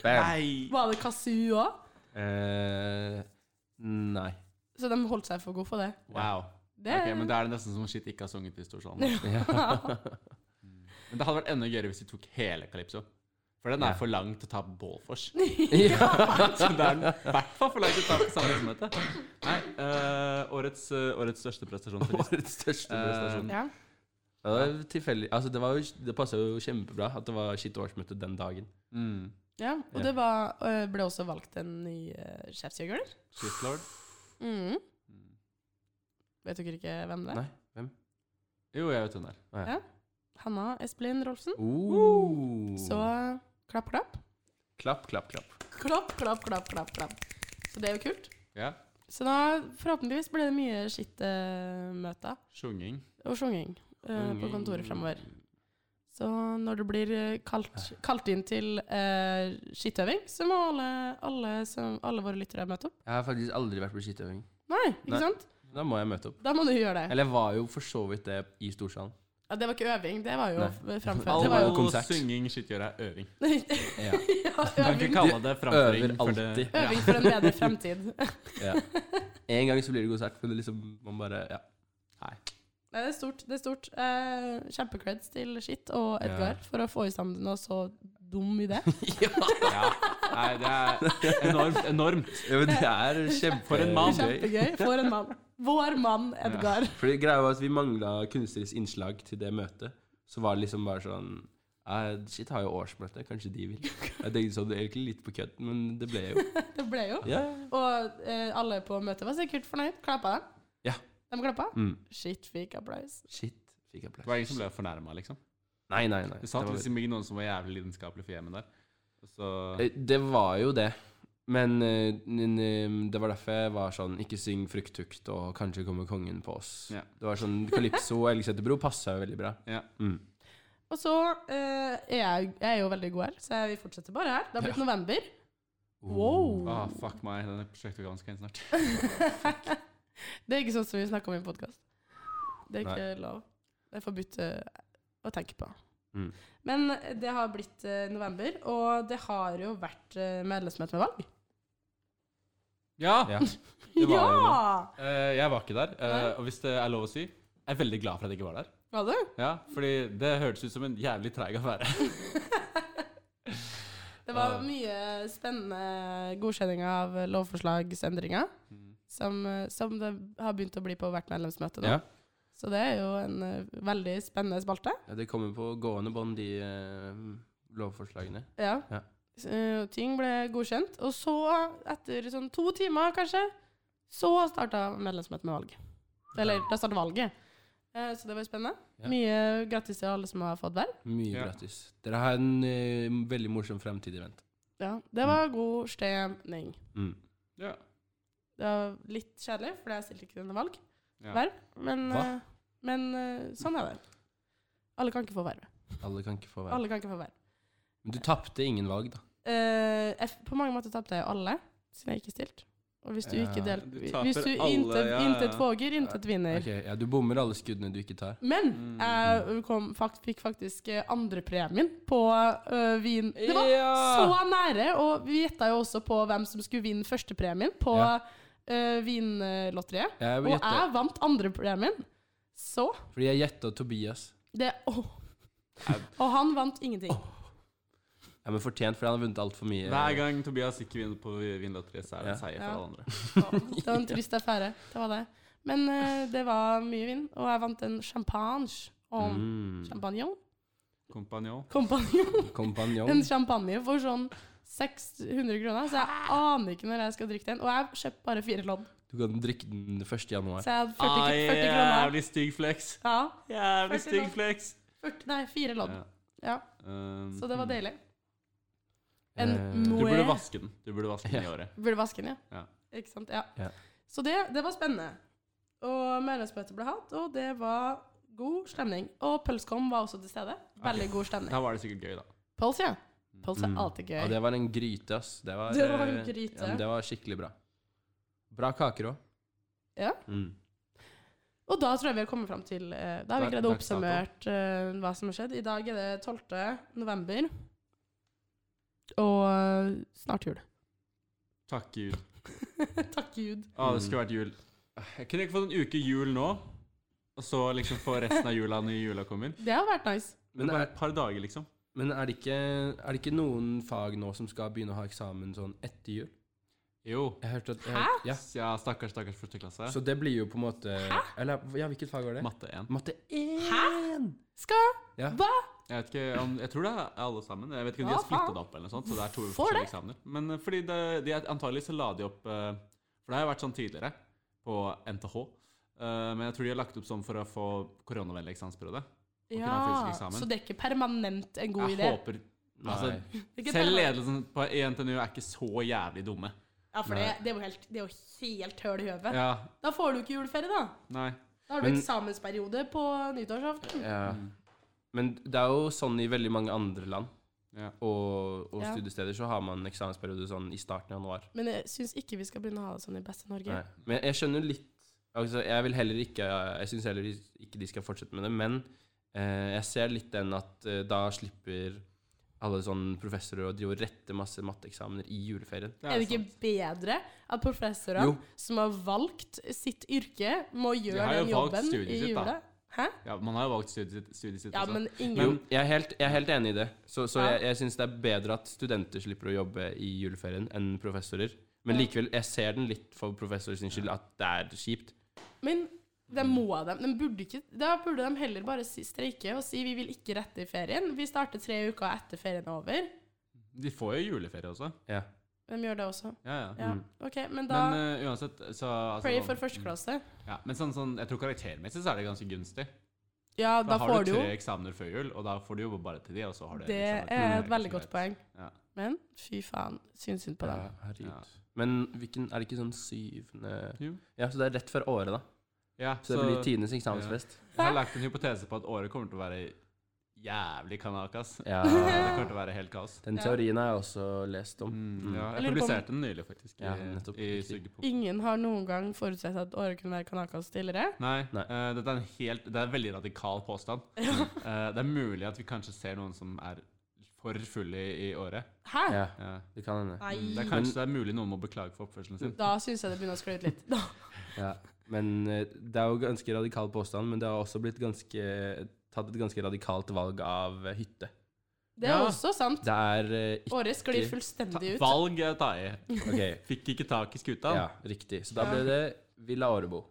Bam.
Nei!
Var det Kazoo òg?
Eh, nei.
Så de holdt seg for gode for det.
Wow.
Det
Ok, men da er det nesten som shit ikke har sunget i Storsalen. Men det hadde vært enda gøyere hvis de tok hele Calypso. For den er
Ja.
for lang til å ta bålfors.
Ja.
Så det er den i hvert fall for lang til å ta på samme møte. Nei, eh, årets, eh, årets største prestasjon for Disney. Eh,
Årets største prestasjon.
ja.
Ja, det var tilfeldig. Altså, det var jo, det passa jo kjempebra at det var sitt årsmøte den dagen.
Mm.
ja. Og
Ja.
det var, ø, ble også valgt en ny uh, sjefsjegler.
Shitlord.
Mm. Vet dere ikke hvem det er?
Nei, hvem?
Jo, jeg vet hvem det er.
Hanna Espelin Rolfsen.
Oh.
Så klapp, klapp.
Klapp, klapp, klapp.
Klapp, klapp, klapp, klapp, klapp. Så det er jo kult.
Ja.
Så da forhåpentligvis ble det mye skittmøter
Sjunging.
og sjunging ø,
Mm.
på kontoret fremover. Så når det blir eh, kalt, kalt inn til eh, skittøving, så må alle, alle, som, alle våre lyttere møte opp.
Jeg har faktisk aldri vært på skittøving.
Nei, ikke
Nei.
sant?
Da må jeg møte opp.
Da må du gjøre det.
Eller jeg var jo for så vidt det i Storsalen.
Ja, det var ikke øving, det var jo
Nei.
framføring. Det var jo
Alle-
All
konsert.
synging skittgjør er øving.
Ja.
ja,
Kan ikke
øving,
kalle det framføring.
øver
for det-
alltid.
Ja.
øving for en bedre fremtid.
Ja. En gang så blir det konsert, men det liksom Man bare Ja.
Nei, det er stort. det er stort. Eh, Kjempecreds til Shit og Edgar
Ja.
for å få i stand noe så dum idé.
Ja. Nei, det er enormt. Enormt.
ja men det er kjempe...
For en mann.
Kjempegøy. For en mann. Vår mann Edgar.
Fordi greia var at vi mangla kunstnerisk innslag til det møtet. Så var det liksom bare sånn eh, Shit, har jo årsmøte. Kanskje de vil. Jeg tenkte sånn, det er egentlig litt på kødd, men det ble jo
Det ble jo.
Ja.
Og eh, alle på møtet var sikkert fornøyd. Klappa dem.
Ja.
De klappa.
Mm.
Shit fikk applaus.
Shit. Fikk jeg
Det var
plass.
ingen som ble fornærma, liksom.
Nei, nei, nei.
Det satt
var-
liksom ikke noen som var jævlig lidenskapelig for hjemmet der. Og Så,
Eh, Det var jo det. Men eh, n- n- det var derfor jeg var sånn Ikke syng 'Frukttukt', og 'Kanskje kommer kongen på oss'.
Ja.
Det var sånn Calypso og Elgeseterbro passa jo veldig bra.
Ja.
Mm.
Og så eh, er jeg, jeg er jo veldig god her, så vi fortsetter bare her. Det har blitt november. Wow.
ah, fuck meg, denne prosjektoppgaven skal inn snart.
Det er ikke sånn som vi snakker om i en podkast. Det er
Nei.
ikke lov. Det er forbudt eh, å tenke på.
Mm.
Men det har blitt eh, november, og det har jo vært eh, medlemsmøte med valg.
Ja!
Ja.
Det var jo det.
ja!
Eh, jeg var ikke der. eh,
Nei.
og hvis det er lov å si, jeg er veldig glad for at jeg ikke var der.
Var du?
Ja, fordi det hørtes ut som en jævlig treig affære.
Det var
Ja.
mye spennende godkjenning av lovforslagsendringer, som, eh, som det har begynt å bli på hvert medlemsmøte nå.
Ja.
Så det er jo en eh, veldig spennende spalte.
ja, det kommer på gående bånd, de eh, lovforslagene.
Ja.
Ja.
S- eh, ting ble godkjent. Og så, etter sånn to timer kanskje, så starta medlemsmøtet med valg. Eller, da starta valget. Eh, Så det var spennende.
Ja.
Mye grattis til alle som har fått verv.
Mye
Ja.
gratis. Dere har en eh, veldig morsom fremtid i vente.
Ja. Det var god stemning.
Mm.
Ja.
Det var litt kjedelig, for jeg stilte ikke til noe valg.
Ja.
Verv. Men,
Hva?
eh, men eh, sånn er det. Alle kan ikke få verv.
Alle kan ikke få være
Alle kan ikke få verv.
Men du tapte ingen valg, da.
Eh, jeg f- på mange måter tapte jeg jo alle, siden jeg ikke stilte. Og hvis du ikke
Ja.
del...
Du taper
Hvis du
alle,
intet,
ja, ja.
intet våger, intet vinner.
Ok, ja, Du bommer alle skuddene du ikke tar.
Men
Mm.
jeg kom, fakt, fikk faktisk eh, andrepremien på eh, vin. Det var så nære, og vi gjetta jo også på hvem som skulle vinne førstepremien på
Ja.
eh, vinlotteriet.
Jeg
Og
gjetta,
jeg vant andrepremien. Så
fordi jeg gjetta Tobias.
det åh. Og han vant ingenting.
Ja, men fortjent, fordi han har vunnet altfor mye.
Hver gang Tobias ikke vinner på Vinlotteriet, så er det en
Ja.
seier for
Ja.
alle andre.
Så Det var en trist affære. Det var det. Men eh, det var mye vin, og jeg vant en champagne. Og
Mm.
Champagnon?
Kompanjong.
Kompanjon. En
Kompanjong.
champagne for sånn 600 kroner, så jeg aner ikke når jeg skal drikke den. Og jeg kjøpte bare fire lodd,
Du kan drikke den 1. januar.
så jeg hadde 40,
Ai,
40 kroner.
jævlig stygg flex.
Ja,
Jævlig
40
stygg
da.
flex.
40, nei, fire lodd.
Ja.
Ja,
Um,
Så det var deilig. En
Eh,
Du
Moët
burde vaske den. Du burde vaske den i
Ja.
året.
Burde vaske den, ja.
Ja.
Ikke sant? Ja.
Ja.
Så det, det var spennende. Og medlemsmøtet ble hatt, og det var god stemning. Og Pølskom var også til stede. Veldig god stemning.
Da var det sikkert gøy, da.
Pøls, ja. Pøls er
Mm.
alltid
Ja,
gøy.
det var en gryte, ass. Det var,
Det var en
eh,
gryte.
Ja, men det var skikkelig bra. Bra kaker òg.
Ja.
Mm.
Og da tror jeg vi har kommet fram til eh, Da har vi
Da-
greid å
dags dato.
oppsummert eh, hva som har skjedd. I dag er det 12. november. Og eh, snart jul.
Takk Gud.
Takk Gud.
Å, Ah,
Mm.
det skulle vært jul. Jeg kunne ikke fått en uke jul nå, og så liksom få resten av jula når jula kommer.
Det har vært nice.
Men,
Bare
er,
et par dager, liksom.
men er, det ikke, er det ikke noen fag nå som skal begynne å ha eksamen sånn etter jul?
Jo.
Jeg hørte at jeg,
Hæ?
Ja.
Ja, stakkars, stakkars første klasse.
Så det blir jo på en måte Eller ja, hvilket fag var det?
Matte 1.
Matte 1!
Skal
Ja.
Hva?
Jeg vet ikke om, jeg tror det er alle sammen. Jeg vet ikke
Ja,
om de har splittet
faen.
det opp, eller noe sånt, så det er to
Hvorfor
forskjellige eksamener. Men eh, fordi det, de er, antagelig så la de opp eh, For det har jo vært sånn tidligere på NTH. eh, men jeg tror de har lagt opp sånn for å få koronavennlig eksamensperiode. kunne
Ja,
ha fysisk eksamen.
så det er ikke permanent en god
Jeg
idé?
håper altså,
Nei.
Det er ikke
Selv
permanent.
ledelsen på ENTNU er ikke så jævlig dumme.
Ja, for det, det er jo helt, det er jo helt høl i høvet.
Ja,
Da får du ikke juleferie, da.
nei.
Da har du
Men-
eksamensperiode på nyttårsaften.
Ja.
Mm.
Men det er jo sånn i veldig mange andre land
Ja.
og, og
Ja.
studiesteder så har man eksamensperiode sånn i starten av januar.
Men jeg syns ikke vi skal begynne å ha det sånn i beste Norge.
Nei. Men jeg skjønner litt altså, Jeg vil heller ikke Jeg syns heller ikke de skal fortsette med det, men Eh, jeg ser litt den at eh, da slipper alle sånne professorer å drive og rette masse matteeksamener i juleferien.
Ja,
Er det ikke
sant.
bedre at professorene
Jo.
som har valgt sitt yrke, må gjøre
har jo
den
valgt
jobben i
studiet sitt, da.
jula? Hæ?
Ja, man har jo valgt studiet sitt. Studiet sitt
Ja,
også.
men
Jo,
ingen
jeg er helt, jeg er helt enig i det. Så, så
Ja.
jeg, jeg syns det er bedre at studenter slipper å jobbe i juleferien enn professorer. Men
Ja.
likevel, jeg ser den litt for professorers skyld at det er kjipt.
Men det må de. de burde ikke, da burde de heller bare si, streike og si vi vil ikke rette i ferien. Vi starter tre uker etter ferien er over.
De får jo juleferie også.
Ja.
De gjør det også.
Ja, ja.
Ja,
Mm.
ok, Men da
Men eh, uansett, så altså,
Pray
sånn-
for førsteklasse.
Ja, men sånn, sånn, jeg tror karaktermessig så er det ganske gunstig.
Ja,
For
da får
har
du jo
du tre eksamener før jul, og da får du jo bare til de, og så har du
Det
liksom et-
er
Mm.
et veldig godt poeng.
Ja.
Men fy faen, syns synd på dem.
Ja, herregud.
Ja.
Men hvilken, er det ikke sånn syvende
Jo.
Ja, så det er rett før året, da.
Ja,
Så, det blir tidenes eksamensfest.
Jeg har lagt en hypotese på at året kommer til å være jævlig kanakas.
Ja.
Det kommer til å være helt kaos.
Den
Ja.
teorien har jeg også lest om.
Mm, ja,
Jeg
jeg
lurer på om-
publiserte den nylig, faktisk.
Ja,
i-
nettopp.
I
Riktig.
Sugepop.
Ingen har noen gang forutsett at året kunne være Kanakas tidligere.
Nei,
Nei.
eh, dette er en helt, det er en veldig radikal påstand. Eh, det er mulig at vi kanskje ser noen som er for fulle i, i året.
Hæ?
Ja,
Ja. Mm,
det kan hende.
Det er
Nei.
kanskje det er mulig noen må beklage for oppførselen sin.
Da syns jeg det begynner å skli ut litt. Da.
Ja. Men eh, det er jo ganske radikal påstand, men det har også blitt ganske tatt et ganske radikalt valg av eh, hytte.
Det er
Ja.
også sant.
Det er eh, ikke
Året sklir
Ikke-
Ta,
fullstendig ut.
valg er å ta i.
OK.
Fikk ikke tak i skuta.
Ja, riktig. Så da
Ja.
ble det Villa Årebo.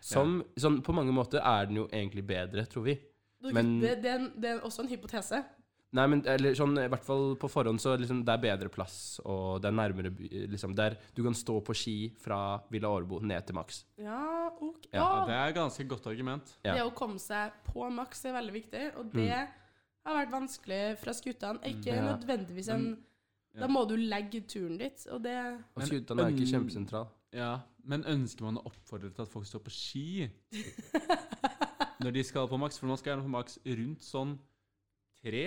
Som sånn, På mange måter er den jo egentlig bedre, tror vi. men-
det, det, er en- det er også en hypotese.
Nei, men eller, sånn, i hvert fall på forhånd så liksom, det er bedre plass, og det er nærmere by liksom, der Du kan stå på ski fra Villa Årebo ned til Max.
Ja, ok.
Ja,
Å,
Ja, det er et ganske godt argument.
Ja. Mm.
Det å komme seg på maks er veldig viktig, og det har vært vanskelig fra skuttene. Ikke
Ja.
nødvendigvis en
ja.
Da må du legge turen dit, og det
Og
Men
Skutan er ikke
øn-
kjempesentral.
Ja, Men ønsker man å oppfordre til at folk står på ski når de skal på maks? For man skal gjerne på maks rundt sånn tre.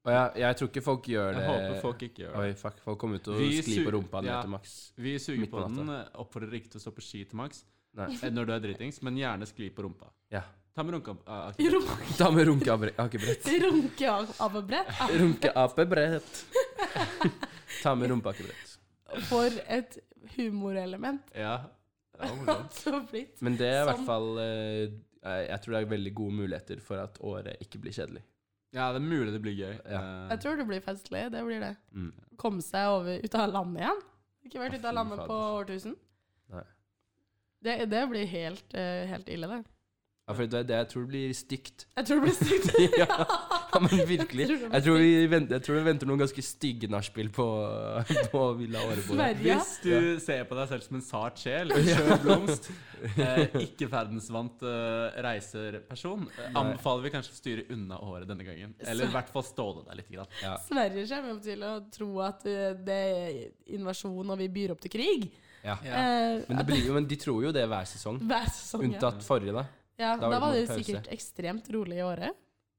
Og jeg, jeg tror ikke folk gjør det
Jeg håper folk ikke gjør det.
Oi, fuck. Folk kommer ut og
Vi
sklir
su-
på rumpa ned
ja.
til Max.
Vi suger
Midt på
på den. eh, Oppfordrer ikke til å stå på ski til maks
Nei.
eh, når du er dritings, men gjerne skli på rumpa.
Ja.
Ta med runka. eh, akkurat.
Runk-
Ta med runkeakebrett.
Runke av av og brett. Ah,
Runkeapebrett. Ta med rumpeakebrett.
For et humorelement
Ja. Det var
det
morsomt.
har blitt.
Men det er i
Sånn.
hvert fall eh, Jeg tror det er veldig gode muligheter for at året ikke blir kjedelig.
Ja, det er mulig det blir gøy.
Ja.
Eh,
Jeg tror det blir festlig. Det blir det.
Mm.
Komme seg over ut av landet igjen. Ikke vært
Å,
ute av
fy
landet på
fader.
årtusen.
Nei.
Det, det blir helt, eh, helt ille, det.
Ja, for det, er det jeg tror blir stygt.
Jeg tror det blir stygt.
ja, men virkelig.
Jeg tror det
Jeg tror, vi venter, jeg tror vi venter noen ganske stygge nachspiel på, på Villa Årebo.
Sverige.
Hvis du ser på deg selv som en sart sjel, en skjør blomst, eh, ikke verdensvant eh, reiserperson, eh, anbefaler vi kanskje å styre unna håret denne gangen. Eller i hvert fall ståle deg litt. Grann.
Ja,
Sverige kommer jo til å tro at eh, det er invasjon og vi byr opp til krig.
ja.
Eh,
Men, det blir, jo- men de tror jo det hver sesong.
hver sesong. ja.
Unntatt forrige, da.
Ja,
Da
da
var det
var det
noen pause.
sikkert ekstremt rolig i året.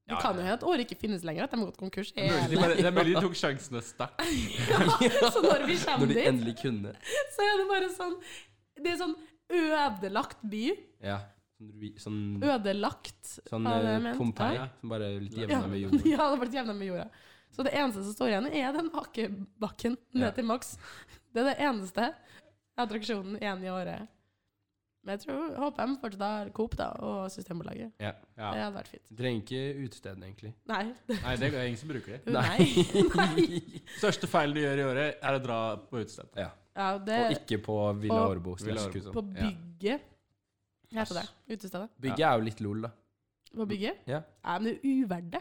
Det
Ja,
kan
ja.
jo hende at året ikke finnes lenger, at de har gått konkurs.
Det er mulig de
hele-
bare- Det er mulig de tok sjansen og stakk.
Så når vi
Når
kommer
de
dit,
endelig kunne.
så er det bare sånn Det er sånn ødelagt by.
Ja. Sånn, vi- sånn,
Ødelagt,
sånn
var det jeg
eh,
mente.
Pompeii
Ja.
som bare er litt
Ja,
jevna med
ja,
jorden.
det har vært jevna med jorda. Så det eneste som står igjen, er den akebakken ned
Ja.
til maks. Det er det eneste attraksjonen igjen i året. Men jeg tror, håper de fortsatt har Coop da, og Systembolaget.
Ja.
Det
Ja.
hadde vært fint.
Du trenger ikke utestedene, egentlig.
Nei.
Nei, det er ingen som bruker det.
Nei. Nei.
Største feilen du gjør i året, er å dra på utested.
Ja.
Ja, det
Og ikke på Villa
Eh, Og-
Årebo.
Villa Årebo.
Skutan.
På bygget. Heter det. Utestedet.
Bygget er jo litt lol, da.
På bygget.
Ja.
Nei, men det er uverd det.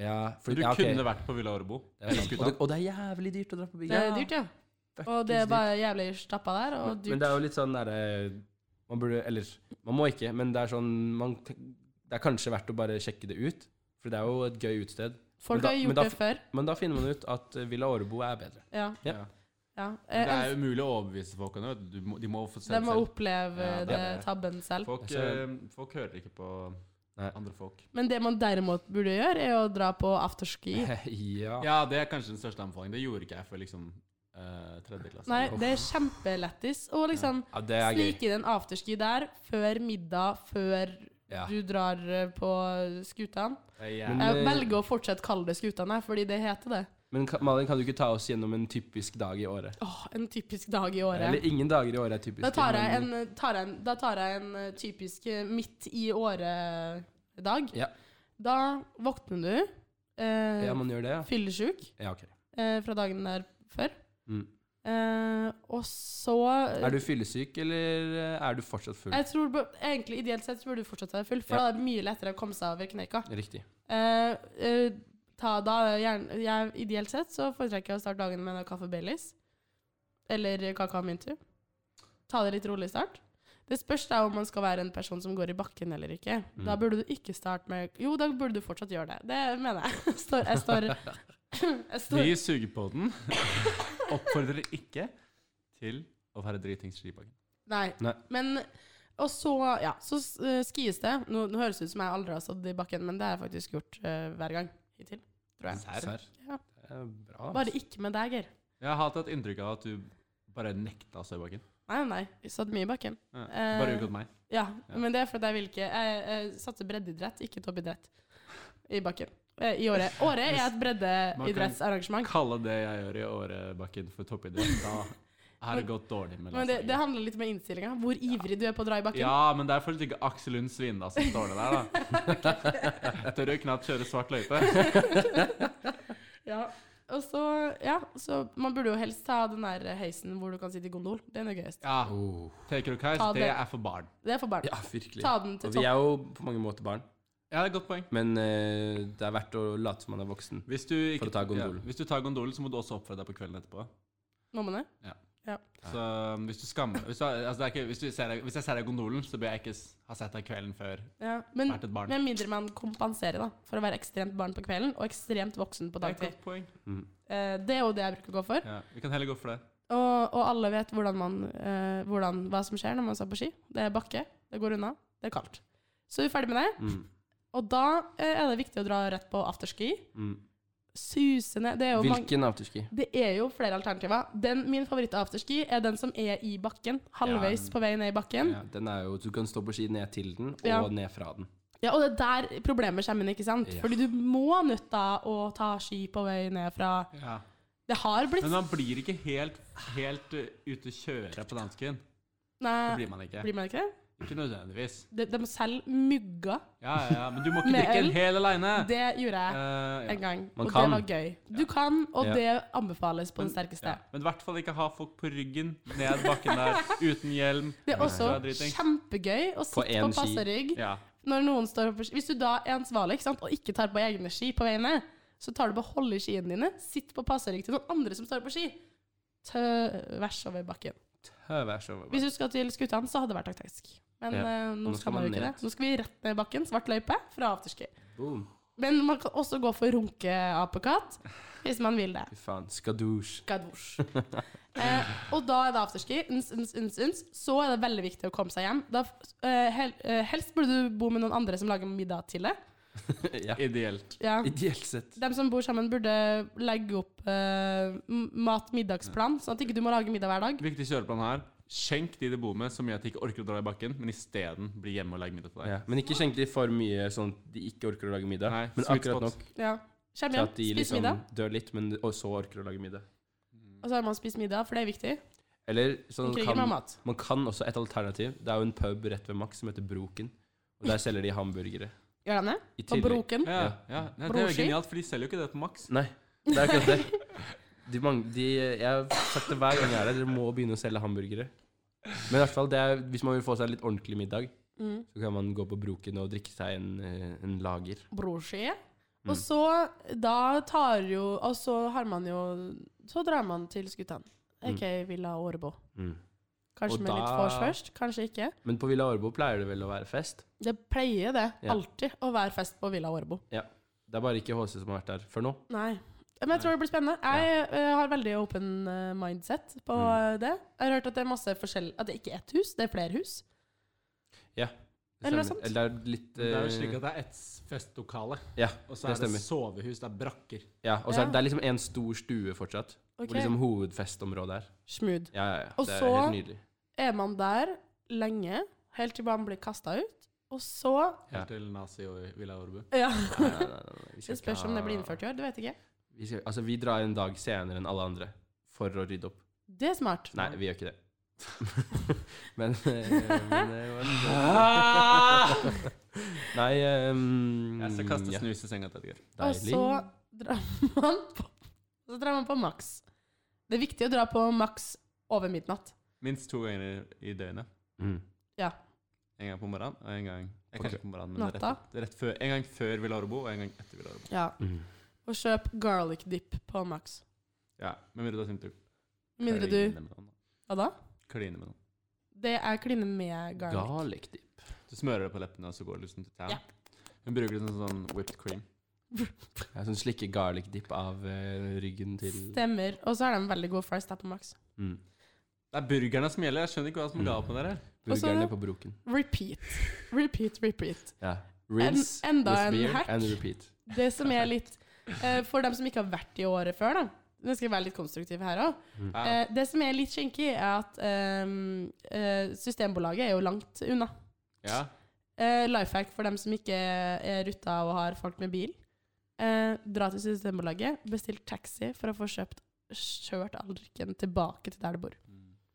Ja,
Du
for, ja, ok.
kunne vært på Villa Årebo.
Det er sant.
Skuta.
og, det, og det er jævlig dyrt å dra på bygget.
Det er dyrt, ja. Og det er bare jævlig stappa der, og
Men-
dyrt.
Men det er jo litt sånn derre Man burde Eller, man må ikke, men det er sånn man, t- Det er kanskje verdt å bare sjekke det ut, for det er jo et gøy utested.
Folk
men da-
har
men
gjort
da-
det før.
Men da finner man ut at eh, Villa Årebo er bedre.
Ja.
Ja.
ja.
Det
Eh,
er umulig å overbevise folk om det. vet du. Du må- De må få se
de
det
må
selv.
oppleve
Ja, det
det,
er-
tabben selv.
Folk,
Jeg ser-
eh, folk hører ikke på
Nei.
andre folk.
Men det man derimot burde gjøre, er å dra på afterski.
ja.
Ja, det er kanskje den største anbefalingen. Det gjorde ikke jeg før liksom eh, tredje klasse.
Nei, det er kjempelettis å liksom
Ja, det er gøy.
snike inn en afterski der før middag, før
Ja.
Du drar eh, på Skutan.
Men,
Jeg
eh,
velger å fortsette kalle det Skutan, jeg, fordi det heter det.
Men kan- Malin, kan du ikke ta oss gjennom en typisk dag i året?
Åh, en typisk dag i året.
Eller ingen dager i året er typiske.
Da tar jeg
men-
en, eh, tar jeg en, da tar jeg en eh, typisk eh, midt i året-dag.
Ja.
Da våkner du, eh,
Ja, man gjør det, ja.
fyllesjuk
ja ok.
eh, fra dagen der før.
Mm.
Eh, og så
Er du fyllesyk, eller eh, er du fortsatt full?
jeg tror, ba- egentlig Ideelt sett så burde du fortsatt være full, for
Ja.
da er det mye lettere å komme seg over kneika.
Riktig.
Eh, eh, ta da gjerne, jeg, Ideelt sett så foretrekker jeg å starte dagen med noe kaffe Baileys. Eller kakao Mintu. Ta det litt rolig i start. Det spørs da om man skal være en person som går i bakken eller ikke.
Mm.
Da burde du ikke starte med Jo, da burde du fortsatt gjøre det. Det mener jeg. Står, jeg står, jeg står
Vi i Sugepodden oppfordrer ikke til å være dritings i skibakken.
Nei.
Nei.
Men Og så, ja, så eh, skis det. Nå, nå høres det ut som jeg aldri har stått i bakken, men det har jeg faktisk gjort eh, hver gang hittil. Tror jeg.
Serr?
Serr?
Ja.
Det er bra. altså.
Bare ikke med deg, Geir.
Jeg har hatt et inntrykk av at du bare nekta å stå i bakken.
Nei, nei. Jeg satt mye i bakken.
Ja.
Eh,
Bare unngått meg.
Ja,
Ja.
men det er fordi jeg vil ikke Jeg, jeg satser breddeidrett, ikke toppidrett. I bakken. Eh, I året. Året er et breddeidrettsarrangement.
Kalle det jeg gjør i årebakken for toppidrett, da er det gått dårlig med
Men det,
landslaget.
det handler litt om innstillinga. Hvor ivrig du er på å dra i bakken.
Ja, men det er fortsatt ikke Aksel Lund Svindal som står det der, da. Tør jo knapt kjøre svart løype.
Ja. Og så, ja, så Man burde jo helst ta den der heisen hvor du kan sitte i gondol. Den er gøyest.
Ja,
Oh.
Taker of Kice,
Ta
det
det.
er for barn.
Det er for barn.
Ja, virkelig.
Ta den til
Og vi
topp.
er jo på mange måter barn,
Ja, det er et godt poeng.
men eh, det er verdt å late som man er voksen.
Hvis du, ikke,
For å ta gondolen.
Ja, hvis du tar gondolen, så må du også oppføre deg på kvelden etterpå.
Må man det?
Så um, hvis du skammer Hvis, du, altså, det er ikke, hvis, du ser deg, hvis jeg ser deg i gondolen, så bør jeg ikke s- ha sett deg kvelden før.
Ja. Men
Vært et barn.
med mindre man kompenserer da, for å være ekstremt barn på kvelden og ekstremt voksen på
Det er et
dagtid.
godt poeng.
Mm,
Eh, det er jo det jeg bruker å gå for.
Ja, vi kan heller gå for det.
Og, og alle vet hvordan man, eh, hvordan, hva som skjer når man står på ski. Det er bakke, det går unna, det er kaldt. Så vi er ferdig med det.
Mm.
Og da eh, er det viktig å dra rett på afterski.
Mm.
Suse ned. Det er jo, mange,
Hvilken afterski?
det er jo flere alternativer. Den, min favoritt-afterski er den som er i bakken. Halvveis på vei ned i bakken.
Ja, den er jo, du kan stå på ski ned til den, og
Ja.
ned fra den.
Ja, og det er der problemet kommer inn, ikke sant?
Ja.
Fordi du må nødt da å ta ski på vei ned fra Det har blitt
Men man blir ikke helt, helt uh, ute å kjøre på dansken. Det
Nei,
blir man ikke.
blir man ikke det?
Ikke nødvendigvis.
De, de selv mugga.
Ja, ja, ja, Men du må ikke
Med
drikke en
øl?
hel aleine.
Det gjorde jeg
Eh,
en gang,
Man
og
kan.
det var gøy. Du kan, og
Ja.
det anbefales på det sterkeste.
ja. Men i hvert fall ikke ha folk på ryggen ned bakken der uten hjelm.
Det er også
Så er driting.
kjempegøy å sitte på,
én ski.
passe rygg
Ja.
når noen står på ski. Hvis du da er ansvarlig ikke sant? og ikke tar på egne ski på vei ned, så tar du på hold i skiene dine, sitt på passe rygg til noen andre som står på ski. Tvers over bakken.
Høvær så
Hvis du skal til Skutan, så hadde det vært taktisk. Men
Ja.
eh, nå, skal man jo ikke det.
ned.
Nå skal vi rett ned i bakken. Svart løype fra afterski.
Boom.
Men man kan også gå for runke-apekatt, hvis man vil det.
Fy faen. Skadouche.
Gadvors. eh, og da er det afterski. Uns, uns, uns, uns. Så er det veldig viktig å komme seg hjem. Da, eh, hel, eh, helst burde du bo med noen andre som lager middag til deg.
ja.
Ideelt.
Ja.
Ideelt sett.
De som bor sammen, burde legge opp eh, m- mat-middagsplan, sånn at ikke du må lage middag hver dag.
Viktig kjøreplan her. Skjenk de du bor med så mye at de ikke orker å dra i bakken, men isteden bli hjemme og legge middag til deg.
Ja. Men ikke skjenk de for mye sånn at de ikke orker å lage middag.
Nei,
men
sweet
akkurat
spot.
nok
Ja. Kjem
til
hjem,
at de
spis
liksom
middag,
dør litt, men og så orker å lage middag.
og så har man spist middag, for det er viktig.
Eller
I
sånn
krigen
kan,
med mat.
man kan også et alternativ. Det er jo en pub rett ved Max som heter Broken. Og der selger de hamburgere.
Gjør de det?
I
Og
tillegg
broken.
Ja, ja. Nei, Det er jo
Broski?
genialt, for de selger jo ikke det på maks.
Nei, det er akkurat det. De mang- de, jeg har sagt det hver gang jeg er der, dere må begynne å selge hamburgere. Men i hvert fall, det er, hvis man vil få seg en litt ordentlig middag,
Mm.
så kan man gå på Broken og drikke seg en, eh, en lager.
brorskje.
Mm.
Og så da tar jo Og så har man jo Så drar man til Skutan. AK Villa Årebo.
Mm.
Kanskje
Og
med litt
da-
vors først, kanskje ikke.
Men på Villa Årbo pleier det vel å være fest?
Det pleier det
Ja.
alltid å være fest på Villa Årebo.
Det er bare ikke HC som har vært der før nå.
Nei. Men jeg tror det blir spennende. Jeg eh, har veldig open eh, mindset på
Mm.
eh, det. Jeg har hørt at det er masse forskjell At det ikke er ett hus, det er flere hus. Eller noe sånt.
Eller det er litt
Det er jo
eh,
slik at det er ett festlokale,
Ja,
og så
det
er det
stemmer.
sovehus, det er brakker.
ja, og så er
Ja.
det, det er liksom en stor stue fortsatt.
Ok,
Hvor liksom hovedfestområdet er.
Smooth.
Ja, ja, ja.
Og
det er
så-
helt nydelig.
Er man der lenge, helt til man blir kasta ut, Og så
Helt til nazi og Villa Orbu.
Ja.
Nei, nei, nei, nei, nei. Vi skal
Det
ikke
spørs om det
ha-
blir innført i år. Det vet jeg ikke.
Vi, skal, altså, vi drar en dag senere enn alle andre for å rydde opp.
Det er smart.
Nei, vi gjør ikke det. men, eh, men det var Nei ehm,
Jeg skal kaste
ja,
snus i senga til Edgar.
Og
Deilig.
så drar man på, så drar man på Max. Det er viktig å dra på Max over midnatt.
Minst to ganger i døgnet.
Mm.
En gang på morgenen og en gang eh,
Ok.
Kanskje ikke på morgenen, men rett,
Natta.
rett før. En gang før Villa Orbu og en gang etter Villa Orbu.
Ja.
Mm.
Og kjøp garlic dip på Max.
Ja, Med mindre du har tenkt å
Mindre du
kline med noen.
Hva da?
Kline med noen.
Det er kline med garlic.
Garlic dip.
Du smører det på leppene, og så går det liksom til town.
Ja.
Hun bruker liksom sånn whipped cream.
Jeg sånn slikke garlic dip av eh, ryggen til
Stemmer. Og så er det en veldig god fries der på Max.
mm.
Det er burgerne som gjelder. Jeg skjønner ikke hva som er galt med dere.
Og så-
burgerne på broken.
Repeat. Repeat, repeat.
Ja. Rinse
En- enda en
with beer
hack.
and repeat.
Det som er litt eh, For dem som ikke har vært i året før, da. Nå skal jeg være litt konstruktiv her òg.
Mm.
Ja.
Eh, det som er litt kinkig, er at ehm, eh, Systembolaget er jo langt unna.
ja.
Eh, Lifehack for dem som ikke er rutta og har folk med bil. Eh, dra til Systembolaget, bestill taxi for å få kjøpt kjørt all drikken tilbake til der du bor.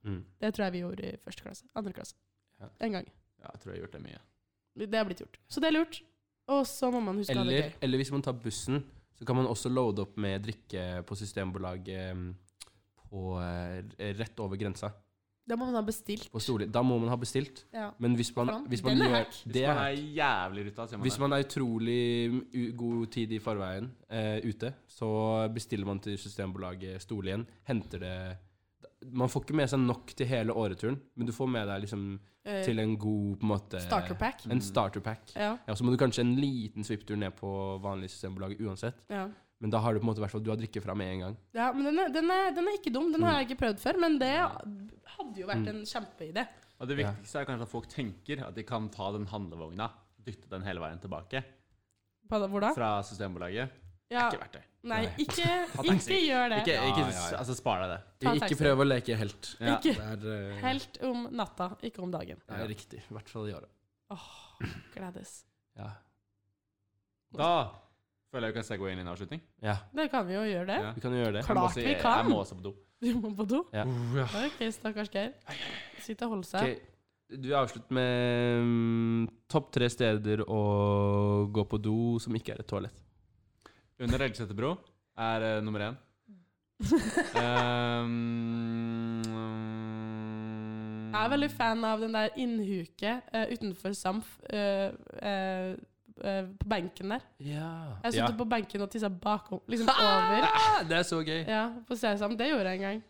Mm.
Det tror jeg vi gjorde i første klasse. Andre klasse.
Ja.
En gang.
ja, jeg tror jeg har gjort det mye.
Det har blitt gjort. Så det er lurt. Og så må man huske å ha det
Eller,
gøy.
eller hvis man tar bussen, så kan man også loade opp med drikke på Systembolaget em, på, eh, rett over grensa.
Da må man ha bestilt.
På Storli. Da må man ha bestilt.
Ja.
Men hvis man,
Faen,
hvis man,
den er
gjør,
hack.
Hvis
det er
man
hack.
er jævlig ruta, så gjør man
Hvis man er utrolig mm, u- god tid i forveien eh, ute, så bestiller man til Systembolaget Stole igjen, henter det Man får ikke med seg nok til hele åreturen, men du får med deg liksom
Eh,
til en god på en måte,
eh,
starter pack.
En starterpack.
Ja.
Ja, så må du kanskje en liten svipptur ned på vanlig Systembolaget uansett,
ja.
men da har du på en måte hvertfall- du har drikke fra med en gang.
Ja, men den er, den, er, den er ikke dum. Den har jeg ikke prøvd før, men det hadde jo
Mm.
vært en kjempeidé.
det. Og det viktigste er kanskje at folk tenker at de kan ta den handlevogna, dytte den hele veien tilbake
Hvor da?
fra Systembolaget.
Ja.
Ikke verdt det.
Nei, ikke, ikke
taxi.
gjør det.
Ikke, ikke
Ja, ja, ja.
Altså, spar deg det.
Ta en
Ikke
taxi.
prøv å leke helt.
Ja.
Ikke
Det er, eh,
helt om natta, ikke om dagen.
det er riktig. I hvert fall i året.
Gledes.
Ja.
Da føler jeg vi kan segge inn i en avslutning.
ja.
Det kan vi jo gjøre det.
Ja.
Vi kan jo gjøre det.
Jeg må
Klart
også-
vi
jeg-
kan.
Jeg må også på do.
Du må på do.
Ja.
OK, stakkars Geir. Sitt og hold seg.
Ok, Du avslutter med mm, topp tre steder å gå på do som ikke er et toalett.
Under Elgeseter bro er eh, nummer én. Ehm, mm,
Jeg er veldig fan av den der innhuke eh, utenfor Samf eh, eh, eh, på benken der.
Ja. Ah,
Jeg satt på benken og tissa bakom, liksom over.
Det er så gøy.
Ja, på Sesam. Det gjorde jeg en gang.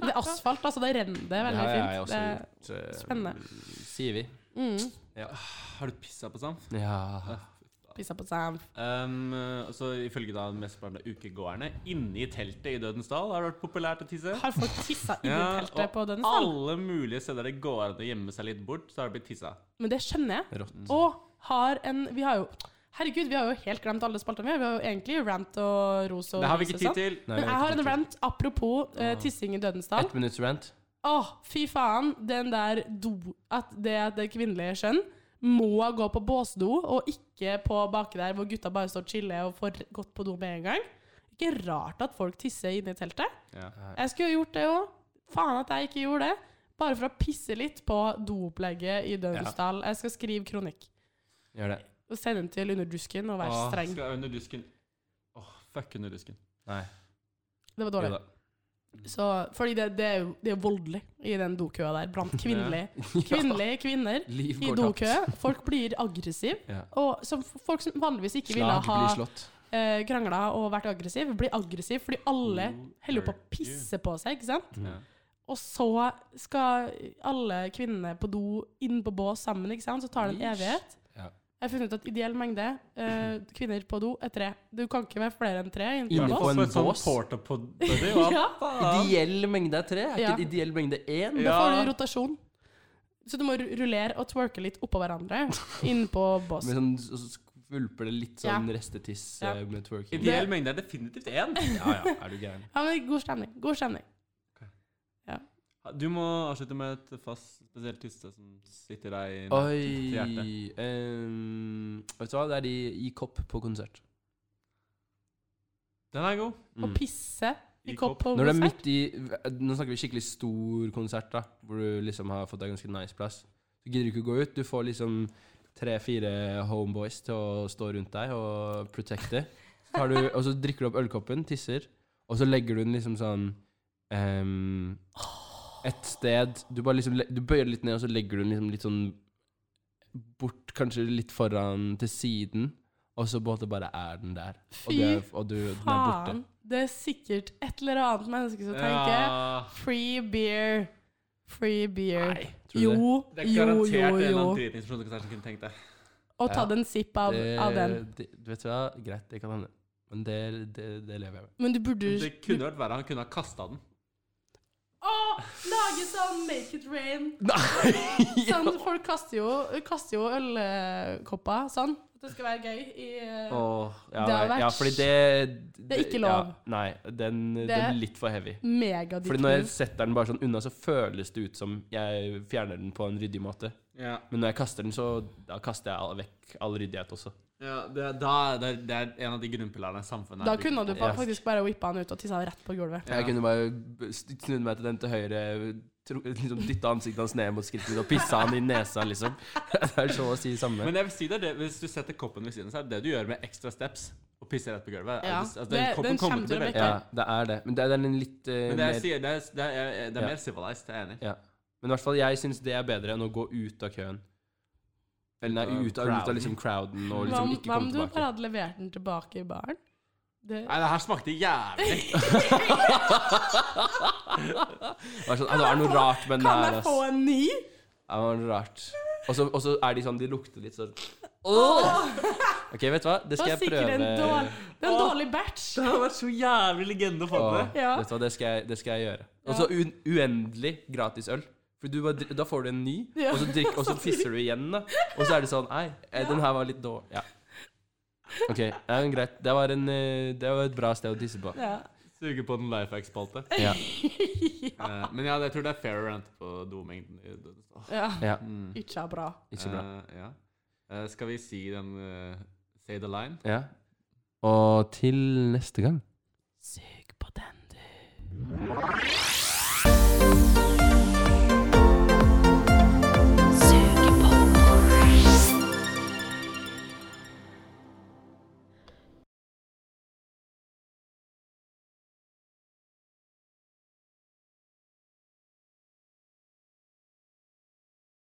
Det er asfalt, altså. Det renner det er veldig
Det har jeg
fint.
også
Det,
gjort, eh,
spennende.
Sier vi.
mm,
Har du pissa på Samf?
Ja.
pissa på Sam.
Um, eh, så ifølge da mesteparten av ukegåerne, inne i teltet i Dødens Dal har det vært populært å tisse.
Har folk tissa inni
Ja,
teltet
og
på den salen?
Alle mulige steder det går an å gjemme seg litt bort, så har det blitt tissa.
Men det skjønner jeg.
Rått.
Og har en Vi har jo Herregud, vi har jo helt glemt alle spaltene. Vi har jo egentlig rant og ros og
Det har vi ikke
ris og sånn.
tid til. Ah.
Men jeg har en rant apropos eh, tissing i Dødens Dal.
Ett minutts rant.
Åh, fy faen. Den der do At det at det kvinnelige skjønn må gå på båsdo, og ikke på baki der hvor gutta bare står og chiller og får gått på do med en gang. Ikke rart at folk tisser inne i teltet.
Ja.
Jeg skulle jo gjort det òg. Faen at jeg ikke gjorde det. Bare for å pisse litt på doopplegget i Dødensdal. Jeg skal skrive kronikk.
Gjør det.
Og sende den til Underdusken og være
Åh,
streng.
Skal under dusken. Åh, fuck under dusken.
Nei.
Det var
Jo
dårlig.
da.
Så, fordi det, det, er jo, det er jo voldelig i den dokøa der, blant kvinnelige, kvinnelige kvinner
Liv
i
går
dokø.
tapt.
Folk blir aggressive.
Ja.
Og som f- folk som vanligvis ikke ville
Slag
ha
blir slått.
eh, krangla og vært aggressiv, blir aggressiv fordi alle
Mm.
holder jo på å pisse på seg, ikke sant?
Ja.
Og så skal alle kvinnene på do inn på bås sammen, ikke sant? Så tar det en
Ish.
evighet.
Ja.
Jeg har funnet ut at ideell mengde eh, kvinner på do er tre. Du kan ikke være flere enn tre inne på
Inne
en
på
bås.
en
På et sånt
bås.
porta-pod- buddy, hva
Ja.
faen?
Ideell mengde er tre. Er
Ja.
ikke det ideell mengde én?
Da får
Ja.
du rotasjon. Så du må ru- rullere og twerke litt oppå hverandre inn på bås.
Med sånn, så skvulper det litt sånn
Ja.
restetiss
Ja.
eh, med twerking.
Ideell mengde er definitivt én.
Ja ja, er du gæren.
Ja, men god stemning. God stemning.
Du må avslutte med et fast, spesielt tyste som sitter deg i til hjertet.
Oi ehm, Vet du hva, det er de i kopp på konsert.
Den er god.
Å
Mm.
pisse i kopp på
Når det er
konsert.
midt i Nå snakker vi skikkelig stor konsert, da hvor du liksom har fått deg ganske nice plass. Så gidder du ikke å gå ut. Du får liksom tre-fire homeboys til å stå rundt deg og protecte. Så tar du, og så drikker du opp ølkoppen, tisser, og så legger du den liksom sånn ehm, Et sted Du bare liksom le- Du bøyer litt ned, og så legger du den liksom litt sånn bort, kanskje litt foran, til siden. Og så på en måte bare er den der. Og,
Fy
det, er- og du, den er borte.
Faen. Det er sikkert et eller annet menneske som tenker
Ja.
free beer. Free beer.
Nei, tror du
Jo,
det?
Det er
jo,
garantert en
jo,
eller
jo.
annen dritings person som kanskje kunne tenkt det.
Og ta
Ja.
en sipp av,
Det-
av den.
Det, du vet hva, greit, det kan hende. Men det, det, det lever jeg med.
Men du burde
Det kunne vært verre. Han kunne ha kasta den.
Å, lage sånn make it rain.
Nei!
Sånn, folk kaster jo, kaster jo ølkopper sånn. At det skal være gøy. I, eh,
Åh, ja,
Det har
nei,
vært-
ja, fordi det
Det er ikke lov.
Ja, nei, den,
Det-
den er litt for heavy. Fordi når jeg
Megadikkmove.
setter den bare sånn unna, så føles det ut som jeg fjerner den på en ryddig måte.
Ja.
Men når jeg kaster den, så da kaster jeg all, vekk all ryddighet også.
Ja, det, er- da, det, er, det er en av de grunnpilarene samfunnet
Da
er bygd
kunne du
på.
fa- faktisk bare whippa han ut og tissa rett på gulvet.
Ja.
Jeg kunne bare b- snudd meg til den til høyre, tro, liksom dytta ansiktet hans ned mot skrittet mitt og pissa han i nesa, liksom. Det er så å si det samme.
Men jeg vil si det, er det, hvis du setter koppen ved siden av, så er det det du gjør med ekstra steps og pisser rett på gulvet.
Ja.
Altså, altså,
Det- den
kommer
kommer
til
til
å
å
velte.
Ja, det er det. Men det er, det er en litt eh,
Men det
mer
jeg sier, det er, det er, det er,
Ja.
mer civilized, jeg er enig.
Ja. Men i hvert fall, jeg syns det er bedre enn å gå ut av køen. Eller nei,
Ut av
ut av, ut av liksom crowden og
Hva
liksom
om
ikke
hva om
komme
du bare
tilbake.
hadde levert den tilbake i baren? Det,
Nei, det her smakte jævlig.
Bare sånn, «Ah, det er noe rart, men det
kan
er
jeg
ass.
få
Ja,
en ny?
det var noe rart. Og så- Og så er de sånn, de lukter litt sånn OK, vet du hva, det
Det
skal
var
jeg
sikkert en
prøve.
dårlig, det er en dårlig batch.
Det har vært så jævlig legende å få
Åh,
det.
Ja.
Vet du hva, det skal jeg, det skal jeg gjøre. Og så u- uendelig gratis øl. For du bare, dri- da får du en ny,
Ja.
og så, drikk, og så fisser du igjen, da. Og så er det sånn Nei, eh, den her var litt dårlig. Ja. OK, ja, men greit. Det var, en, eh, det var et bra sted å tisse på.
Ja.
Suge på den lifehack-spalte.
Ja.
Eh, men ja, jeg tror det er fair å rente på domengden. i det- Åh.
ja.
ja.
Mm.
Ikke er bra.
Ikke bra.
Eh, ja. Eh, skal vi si den eh, Say the line?
Ja. Og til neste gang.
Sug på den, du.